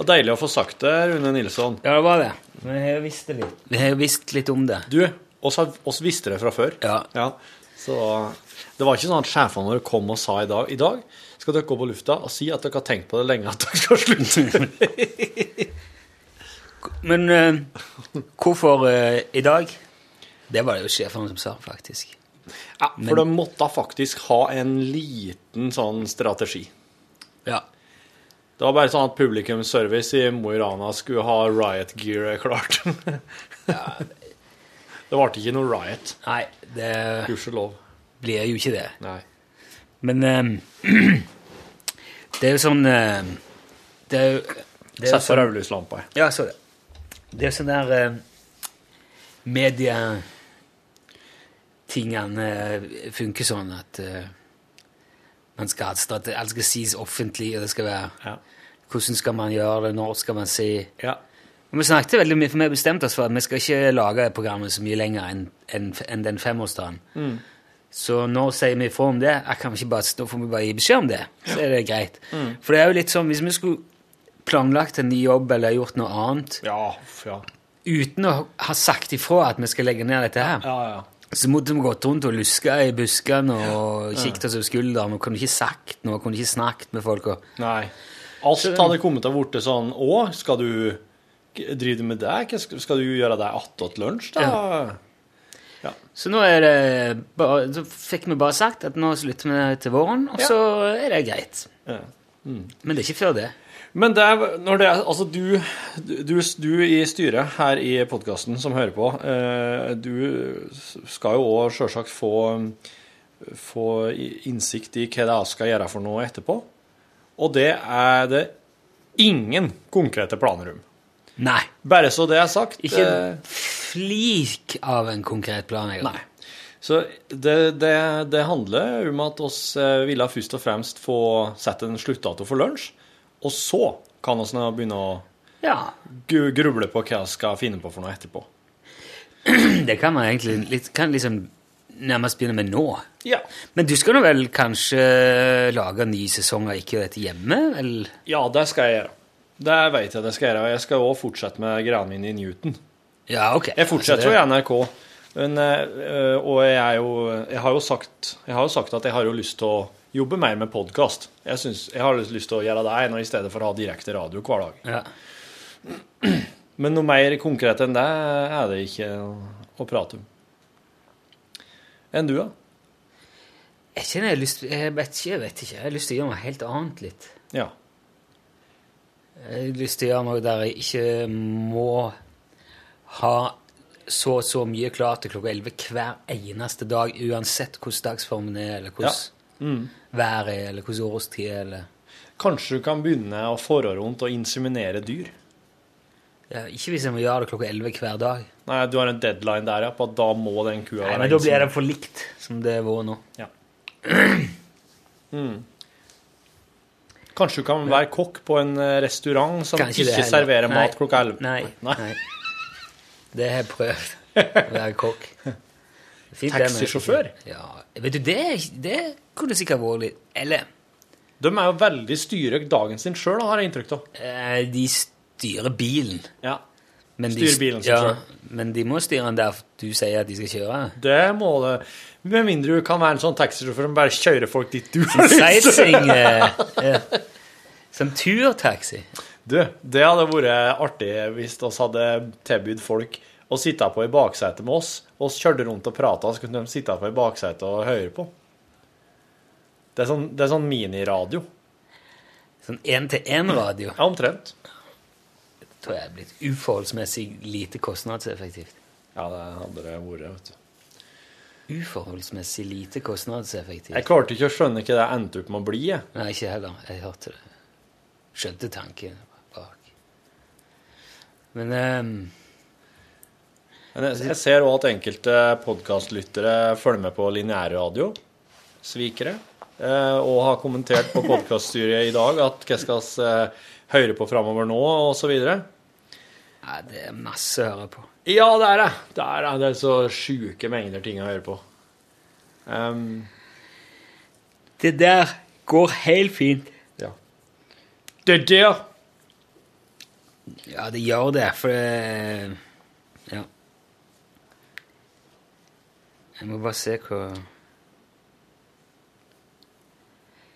Speaker 3: Og deilig å få sagt det, Rune Nilsson.
Speaker 2: Ja, det var det. Men jeg har jo visst det litt. Jeg har jo visst litt om det.
Speaker 3: Du, oss, har- oss visste det fra før.
Speaker 2: Ja.
Speaker 3: Så det var ikke sånn at sjefene våre kom og sa i dag I dag skal dere gå på lufta og si at dere har tenkt på det lenge at dere skal slutte.
Speaker 2: Men eh, hvorfor eh, i dag? Det var det jo sjefene som sa, faktisk.
Speaker 3: Ja, for de måtte faktisk ha en liten sånn strategi.
Speaker 2: Ja.
Speaker 3: Det var bare sånn at publikumsservice i Mo i Rana skulle ha riot gear klart. det ble ikke noe riot,
Speaker 2: Nei, det
Speaker 3: gudskjelov.
Speaker 2: blir jo ikke det.
Speaker 3: Nei.
Speaker 2: Men eh, det er jo sånn eh, Det er jo det er jo
Speaker 3: Sett på
Speaker 2: sånn-
Speaker 3: rødlyslampa.
Speaker 2: Ja, jeg så det. Det er jo sånn der eh, medietingene eh, funker sånn at eh, man skal ha et strate- alt skal sies offentlig, og det skal være
Speaker 3: Ja.
Speaker 2: Hvordan skal man gjøre det, når skal man si
Speaker 3: Ja.
Speaker 2: Og Vi snakket veldig mye, for vi bestemte oss for at vi skal ikke lage programmet så mye lenger enn enn- enn den femårsdagen. Så nå sier vi ifra om det. Jeg kan vi ikke bare, nå får vi bare gi beskjed om det. Så er det greit. For det er jo litt sånn, hvis vi skulle planlagt en ny jobb eller gjort noe annet,
Speaker 3: Ja, f- ja.
Speaker 2: uten å ha sagt ifra at vi skal legge ned dette her,
Speaker 3: ja, ja.
Speaker 2: så måtte vi gått rundt og luska i buskene og kikket oss over skulderen og kunne ikke sagt noe, kunne ikke snakket med folk. Og,
Speaker 3: Nei. Alt hadde kommet til å blitt sånn Å, skal du drive med det? Hva Skal skal du gjøre det attåt lunsj, da?
Speaker 2: så nå er det bare, så fikk vi bare sagt at nå slutter vi til våren, og
Speaker 3: Ja.
Speaker 2: så er det greit.
Speaker 3: Ja. Mm.
Speaker 2: Men det er ikke før det.
Speaker 3: Men det er, når det er, altså du, du, du i styret her i podkasten som hører på, eh, du skal jo òg sjølsagt få, få i- innsikt i hva det er jeg skal gjøre for noe etterpå. Og det er det ingen konkrete planer om.
Speaker 2: Nei.
Speaker 3: Bare så det er sagt.
Speaker 2: Ikke
Speaker 3: eh,
Speaker 2: en flik av en konkret plan. Jeg.
Speaker 3: Nei. Så det, det, det handler om at oss eh, ville først og fremst få sette en sluttdato for lunsj, og så kan oss nå begynne å
Speaker 2: Ja,
Speaker 3: gu- gruble på hva vi skal finne på for noe etterpå.
Speaker 2: det kan man egentlig litt, kan liksom nærmest begynne med nå.
Speaker 3: Ja.
Speaker 2: Men du skal nå vel kanskje lage ni sesonger, ikke dette hjemme? Vel?
Speaker 3: ja, det skal jeg gjøre. Det vet jeg det skal gjøre. Og jeg skal også fortsette med greiene mine i Newton.
Speaker 2: Ja, ok.
Speaker 3: Jeg fortsetter jo
Speaker 2: Altså,
Speaker 3: i NRK. Men, eh, og jeg, er jo, jeg, har jo sagt, jeg har jo sagt at jeg har jo lyst til å jobbe mer med podkast. Jeg, syns- jeg har lyst til å gjøre det nå i stedet for å ha direkte radio hver dag.
Speaker 2: det- Ja.
Speaker 3: Men noe mer konkret enn det er det ikke å prate om. Enn du, da?
Speaker 2: Jeg kjenner jeg har lyst Jeg vet ikke, jeg vet ikke. Jeg har lyst til å gjøre noe helt annet litt.
Speaker 3: Ja.
Speaker 2: Jeg har lyst til å gjøre noe der jeg ikke må ha så og så mye klart til klokka 11 hver eneste dag, uansett hvordan dagsformen er, eller hvordan Mm. været er, eller hvordan årstid er, eller
Speaker 3: Kanskje du kan begynne å forre rundt og inseminere dyr?
Speaker 2: ja, Ikke hvis jeg må gjøre det klokka 11 hver dag.
Speaker 3: Nei, du har en deadline der, ja, på at da må den kua
Speaker 2: Nei, men liksom- da blir det for likt som det har vært nå.
Speaker 3: inseminert. Kanskje du kan være kokk på en eh, restaurant som
Speaker 2: Kanskje det
Speaker 3: ikke
Speaker 2: heller.
Speaker 3: serverer
Speaker 2: Nei,
Speaker 3: mat klokka 11?
Speaker 2: Nei.
Speaker 3: Nei.
Speaker 2: nei. Det har jeg prøvd. Å være kokk. Fint, det, men-
Speaker 3: Taxisjåfør?
Speaker 2: Ja. Vet du, det, det kunne sikkert vært litt Eller
Speaker 3: De er jo veldig styre dagen sin sjøl, har jeg inntrykk av.
Speaker 2: eh, de styrer bilen.
Speaker 3: Ja.
Speaker 2: Men de-
Speaker 3: Styrer bilen sin
Speaker 2: ja,
Speaker 3: selv.
Speaker 2: Men de må styre den der du sier at de skal kjøre.
Speaker 3: Det må det. Med mindre du kan være en sånn taxisjåfør som bare kjører folk dit du har lyst til.
Speaker 2: Sightseeing. Eh, ja. Som turtaxi.
Speaker 3: Du, det hadde vært artig hvis vi hadde tilbudt folk å sitte på i baksetet med oss. og Vi kjørte rundt og prata, så kunne de sitte på i baksetet og høre på. Det er sånn, det er sånn miniradio.
Speaker 2: Sånn én-til-én-radio
Speaker 3: Ja, omtrent.
Speaker 2: tror jeg er blitt uforholdsmessig lite kostnadseffektivt.
Speaker 3: Ja, det hadde det vært, vet du.
Speaker 2: Uforholdsmessig lite kostnadseffektivt.
Speaker 3: Jeg klarte ikke å skjønne hva det endte opp med å bli. jeg.
Speaker 2: Nei, ikke heller. Jeg hørte det. Skjønte tanken bak. Men ehm,
Speaker 3: Men jeg, jeg ser òg at enkelte podkastlyttere følger med på lineærradio. Svikere. Eh, og har kommentert på podkaststyret i dag at hva skal vi eh, høre på framover nå, osv.
Speaker 2: nei, det er masse å høre på.
Speaker 3: Ja, det er det. Det er, det. det er så sjuke mengder ting å høre på. Ehm,
Speaker 2: Det der går helt fint.
Speaker 3: ja. Det der
Speaker 2: Ja, det gjør det, for det Ja. Jeg må bare se hva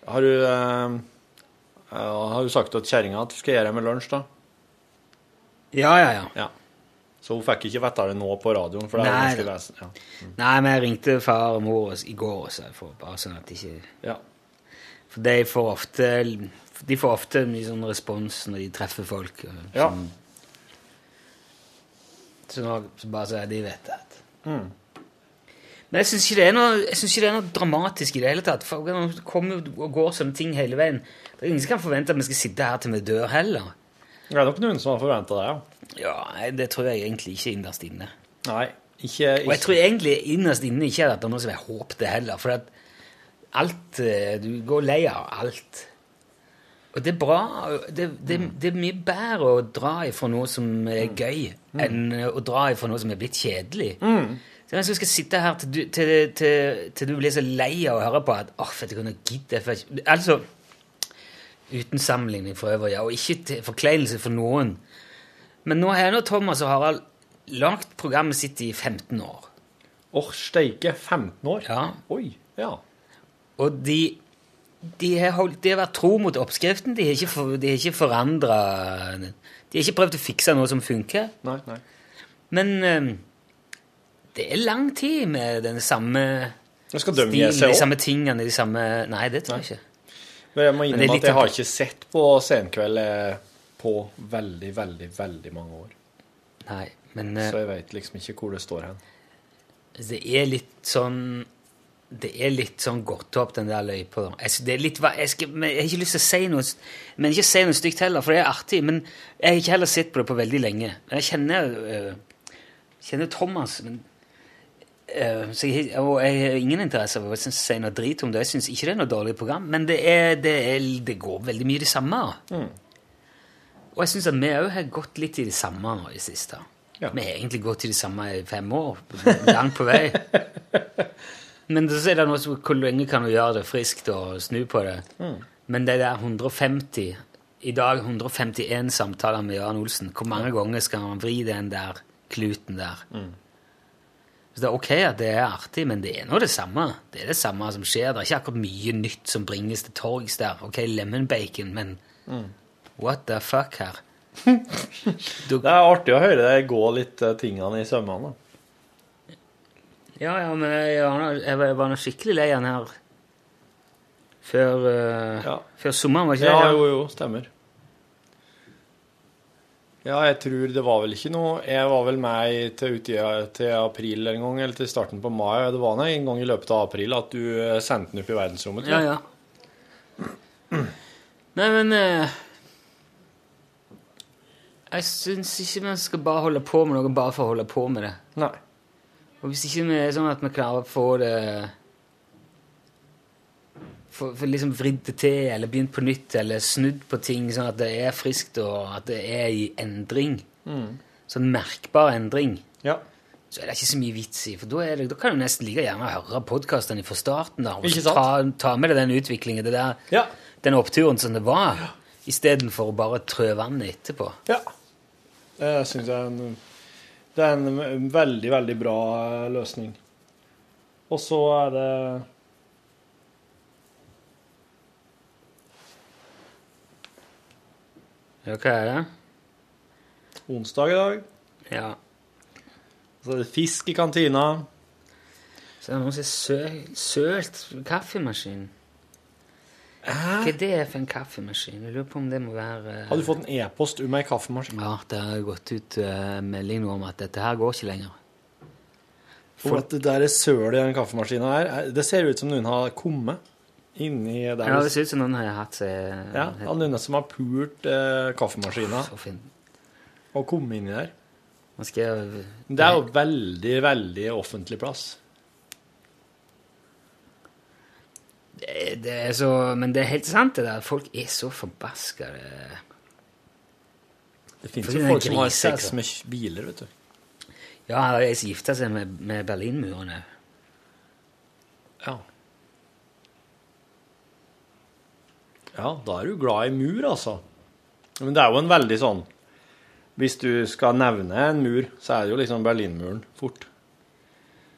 Speaker 3: Har du, eh, ja, har du sagt til kjerringa at du skal gjøre det med lunsj, da?
Speaker 2: Ja, ja, ja.
Speaker 3: Ja. Så hun fikk ikke vite det nå på radioen? For det er
Speaker 2: Nei,
Speaker 3: ganske
Speaker 2: da.
Speaker 3: vesen. Ja.
Speaker 2: Nei, men jeg ringte far og mor også- i går også, for, bare sånn at de ikke
Speaker 3: Ja.
Speaker 2: For de får ofte De får ofte mye sånn respons når de treffer folk. og
Speaker 3: Ja.
Speaker 2: sånn. Så nå så bare så de vet det. Mm. Men jeg syns ikke, det er noe- jeg synes ikke det er noe dramatisk i det hele tatt. For Nå kommer jo og går sånne ting hele veien. Det er ingen som kan forvente at vi skal sitte her til vi dør heller.
Speaker 3: Det er nok noen som har forventa det, ja.
Speaker 2: Ja, nei, Det tror jeg egentlig ikke innerst inne.
Speaker 3: Nei, ikke,
Speaker 2: Og jeg
Speaker 3: ikke.
Speaker 2: tror egentlig innerst inne ikke at det er noe som er håp det heller, for at alt eh, Du går lei av alt. Og det er bra. Det, det, det er mye bedre å dra ifra noe som er gøy, enn å dra ifra noe som er blitt kjedelig. Så jeg skal sitte her til du, til, til, til du blir så lei av å høre på at åh, vet du hva, nå gidder jeg faktisk ikke». Altså, uten sammenligning for øvrig, ja, og ikke til forkleinelse for noen. Men nå har nå Thomas og Harald lagt programmet sitt i 15 år.
Speaker 3: Åh, steike. 15 år?
Speaker 2: Ja.
Speaker 3: Oi. Ja.
Speaker 2: Og de, de, har holdt, de har vært tro mot oppskriften. De har ikke, for, de har ikke forandra De har ikke prøvd å fikse noe som funker.
Speaker 3: Nei, nei.
Speaker 2: Men eh, det er lang tid med den samme
Speaker 3: Jeg skal dømme
Speaker 2: stilen,
Speaker 3: jeg seg
Speaker 2: de
Speaker 3: òg.
Speaker 2: samme tingene, de samme Nei, det tror jeg ikke.
Speaker 3: Men jeg må
Speaker 2: det er
Speaker 3: innrømme
Speaker 2: litt
Speaker 3: at jeg har
Speaker 2: at-
Speaker 3: ikke sett på Senkveld eh, på veldig, veldig, veldig mange år.
Speaker 2: Nei, men eh,
Speaker 3: Så jeg veit liksom ikke hvor det står hen.
Speaker 2: det er litt sånn det er litt sånn gått opp, den der løypa. da. Jeg, sy- det er litt, va- jeg, skal, men jeg har ikke lyst til å si noe s- Men ikke si noe stygt heller, for det er artig. Men jeg har ikke heller sett på det på veldig lenge. Men Jeg kjenner, øh, kjenner Thomas, men, øh, så jeg, har- og jeg har ingen interesse av å si- si noe drit om det. Jeg syns ikke det er noe dårlig program, men det, er, det, er, det går veldig mye i det samme. Og jeg syns at vi òg har gått litt i det samme nå i det siste.
Speaker 3: Ja.
Speaker 2: Vi har egentlig gått i det samme i fem år. Langt på vei. Men så er det noe som Hvor lenge kan du gjøre det friskt og snu på det? Men det der 150 I dag 151 samtaler med Jan Olsen. Hvor mange ganger skal han vri den der kluten der? Så det er ok at det er artig, men det er nå det samme. Det er det samme som skjer. Det er ikke akkurat mye nytt som bringes til torgs der. Ok, lemon bacon, men what the fuck her? Du,
Speaker 3: Det er artig å høre deg gå litt eh, tingene i sømmene. da.
Speaker 2: Ja, ja, men jeg var, nå- jeg var- jeg var nå skikkelig lei han her før, eh,
Speaker 3: Ja.
Speaker 2: før sommeren, var ikke
Speaker 3: Ja,
Speaker 2: det?
Speaker 3: jo, jo, stemmer. Ja, jeg tror det var vel ikke noe Jeg var vel med i- til uti til april en gang, eller til starten på mai. og Det var nå en gang i løpet av april at du eh, sendte den opp i verdensrommet.
Speaker 2: Ja,
Speaker 3: tror jeg.
Speaker 2: ja. Nei, men eh, Jeg syns ikke man skal bare holde på med noe bare for å holde på med det.
Speaker 3: Nei.
Speaker 2: Og hvis ikke vi er sånn at vi klarer å få det Få få liksom vridd det til, eller begynt på nytt, eller snudd på ting, sånn at det er friskt, og at det er i endring. Sånn merkbar endring.
Speaker 3: Ja.
Speaker 2: så er det ikke så mye vits i. For da, er det, da kan du nesten like gjerne høre podkastene fra starten da, og
Speaker 3: Ikke
Speaker 2: så ta, ta med deg den utviklingen, det der,
Speaker 3: Ja.
Speaker 2: den oppturen som det var, istedenfor å bare trø vannet etterpå.
Speaker 3: ja. Det syns jeg er en, det er en veldig, veldig bra eh, løsning. Og så er det
Speaker 2: Ja, hva er det?
Speaker 3: onsdag i dag.
Speaker 2: Ja.
Speaker 3: Så er det fisk i kantina.
Speaker 2: Så er det noen som har sø- sølt kaffemaskinen. Hva er det for en kaffemaskin? Jeg lurer på om det må være eh,
Speaker 3: Har du fått en e-post om ei kaffemaskin?
Speaker 2: Ja, det har gått ut eh, melding nå om at dette her går ikke lenger.
Speaker 3: For at det der sølet i den kaffemaskina her, er- det ser ut som noen har kommet inni der.
Speaker 2: Ja, det ser ut som noen har hatt seg
Speaker 3: Ja, det er noen som har pult eh, kaffemaskina
Speaker 2: Så fin.
Speaker 3: og kommet inni der.
Speaker 2: Nå skal jeg
Speaker 3: Men Det er jo veldig, veldig offentlig plass.
Speaker 2: Det det er så, men det er helt sant, det der. Folk er så eh. forbaska. det.
Speaker 3: Det fins
Speaker 2: Fordi
Speaker 3: jo
Speaker 2: det er altså.
Speaker 3: folk som har
Speaker 2: griser,
Speaker 3: sex
Speaker 2: ikke?
Speaker 3: med biler, vet du.
Speaker 2: Ja, han har gifta seg med, med Berlinmuren òg.
Speaker 3: Ja. Ja, da er du glad i mur, altså. Men det er jo en veldig sånn Hvis du skal nevne en mur, så er det jo liksom Berlinmuren fort.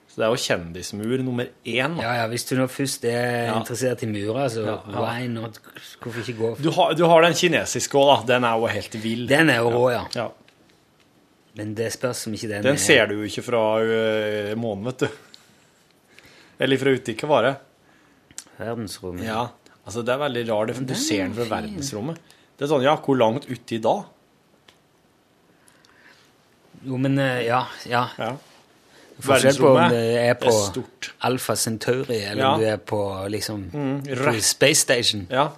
Speaker 3: Så det er jo kjendismur nummer én. Da.
Speaker 2: Ja, ja, hvis du nå først er
Speaker 3: Ja.
Speaker 2: interessert i murer, så
Speaker 3: Ja, ja.
Speaker 2: why not? Hvorfor ikke gå
Speaker 3: Du,
Speaker 2: for
Speaker 3: har, du har den kinesiske òg, da. Den er jo helt vill.
Speaker 2: Den er jo rå, ja.
Speaker 3: Ja.
Speaker 2: Men det spørs om ikke den,
Speaker 3: Den ser du jo ikke fra ø, månen, vet du. Eller fra ute i hva var det?
Speaker 2: er verdensrommet.
Speaker 3: Ja, altså det er veldig rart. det- Du
Speaker 2: den
Speaker 3: ser
Speaker 2: er
Speaker 3: den fra
Speaker 2: fin.
Speaker 3: verdensrommet. Det er sånn, ja, hvor langt uti da?
Speaker 2: Jo, men eh, ja. ja.
Speaker 3: Ja.
Speaker 2: Forskjell på om det er på
Speaker 3: er stort.
Speaker 2: Alfa Centauri, eller
Speaker 3: Ja. Mm,
Speaker 2: om du er på liksom på
Speaker 3: rett.
Speaker 2: Space Station.
Speaker 3: Ja.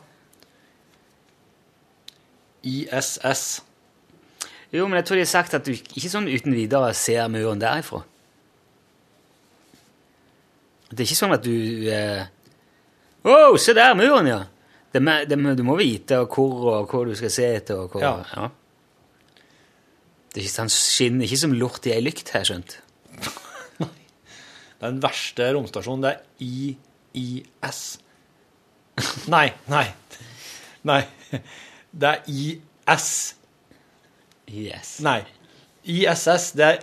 Speaker 3: ISS.
Speaker 2: Jo, men jeg tror de har sagt at du ikke sånn uten videre ser muren derifra. Det er ikke sånn at du eh, Wow, se der, muren, ja! Det, må- det, må- du må vite hvor og hvor du skal se etter. og hvor...
Speaker 3: Ja.
Speaker 2: Ja. Det er ikke, han skinner ikke som lort i ei lykt, har jeg skjønt.
Speaker 3: Det er Den verste romstasjonen, det er IIS. Nei, nei. Nei. Det er IS.
Speaker 2: Yes.
Speaker 3: Nei. ISS, det er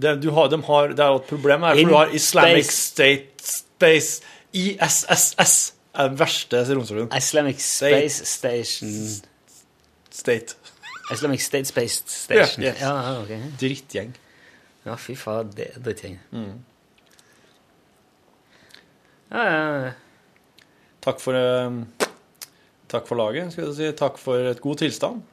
Speaker 3: det, du har, de har, det er jo et problem her,
Speaker 2: In
Speaker 3: for du har Islamic
Speaker 2: space.
Speaker 3: State Space ISSS er den verste romstasjonen.
Speaker 2: Islamic Space Station
Speaker 3: State.
Speaker 2: Islamic State Space Station.
Speaker 3: Ja, yes.
Speaker 2: Ja, ja, ok.
Speaker 3: Drittgjeng.
Speaker 2: Ja, fy faen, det er drittgjeng.
Speaker 3: Mm.
Speaker 2: Ja, ja, ja.
Speaker 3: Takk for, eh, takk for laget, skal jeg si. Takk for et god tilstand.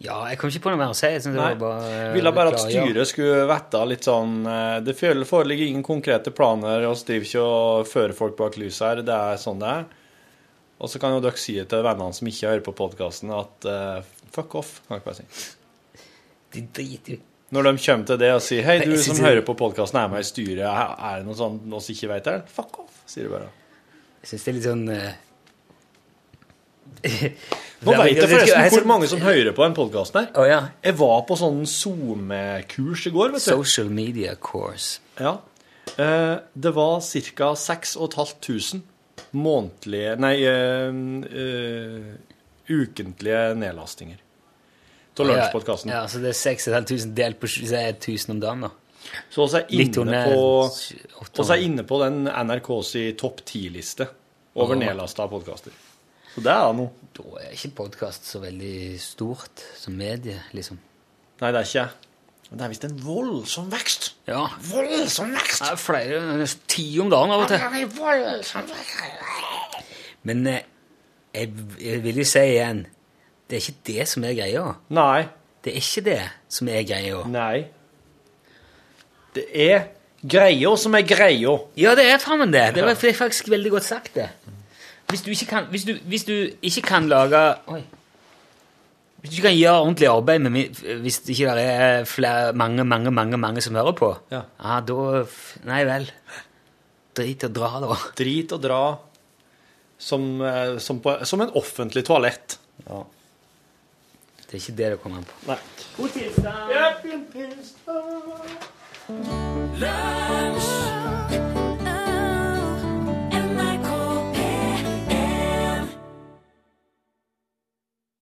Speaker 2: Ja, jeg kom ikke på noe mer å si. Jeg synes det
Speaker 3: Nei.
Speaker 2: var bare eh,
Speaker 3: Ville bare at
Speaker 2: klargjør.
Speaker 3: styret skulle vette litt sånn eh, Det føler- foreligger ingen konkrete planer, og driver ikke og fører folk bak lyset her. Det er sånn det er. Og så kan jo dere si til vennene som ikke hører på podkasten, at eh, fuck off, kan jeg bare si.
Speaker 2: De driter jo
Speaker 3: Når de kommer til det og sier Hei, du
Speaker 2: Nei, jeg
Speaker 3: som
Speaker 2: synes-
Speaker 3: hører på podkasten, er med i styret. Er er det noe sånn oss ikke vet her? Fuck off, sier du bare.
Speaker 2: Jeg syns det er litt sånn eh,
Speaker 3: Nå
Speaker 2: Det er-
Speaker 3: vet jeg
Speaker 2: jeg
Speaker 3: forresten
Speaker 2: er så-
Speaker 3: hvor mange som hører på den podkasten her.
Speaker 2: Å ja.
Speaker 3: Jeg var på sånn SoMe-kurs i går, vet du.
Speaker 2: Social media course.
Speaker 3: Ja. Eh, det var ca. 6500 månedlige Nei, eh, eh, ukentlige nedlastinger av Lunsjpodkasten.
Speaker 2: Ja, ja, så det er 6500 delt på sju- så er det 1000 om dagen, da.
Speaker 3: Så vi er
Speaker 2: Litt
Speaker 3: inne
Speaker 2: under
Speaker 3: på,
Speaker 2: åtte
Speaker 3: oss er
Speaker 2: år.
Speaker 3: inne på den NRKs i topp ti-liste over
Speaker 2: Åh.
Speaker 3: nedlasta podkaster. Så det er noe.
Speaker 2: Da er ikke podkast så veldig stort som medie, liksom.
Speaker 3: Nei, det er ikke jeg. Men det er visst en voldsom vekst.
Speaker 2: Ja.
Speaker 3: Voldsom vekst!
Speaker 2: Det er flere nesten ti om dagen av og til.
Speaker 3: Det er voldsom vekst.
Speaker 2: Men eh, jeg, jeg vil jo si igjen det er ikke det som er greia.
Speaker 3: Nei.
Speaker 2: Det er ikke det som er greia.
Speaker 3: Nei. Det er greia som er greia.
Speaker 2: Ja, det er faen det. Det var det er faktisk veldig godt sagt, det. Hvis du ikke kan, hvis du, hvis du ikke kan lage Oi. Hvis du ikke kan gjøre ordentlig arbeid med, mi- hvis det ikke der er flere, mange, mange, mange mange som hører på, ah,
Speaker 3: Ja.
Speaker 2: da f- Nei vel. Drit og dra, da.
Speaker 3: Drit og dra som, eh, som, på, som en offentlig toalett.
Speaker 2: Det er ikke det det kommer an på.
Speaker 3: Nei.
Speaker 6: Lunsj!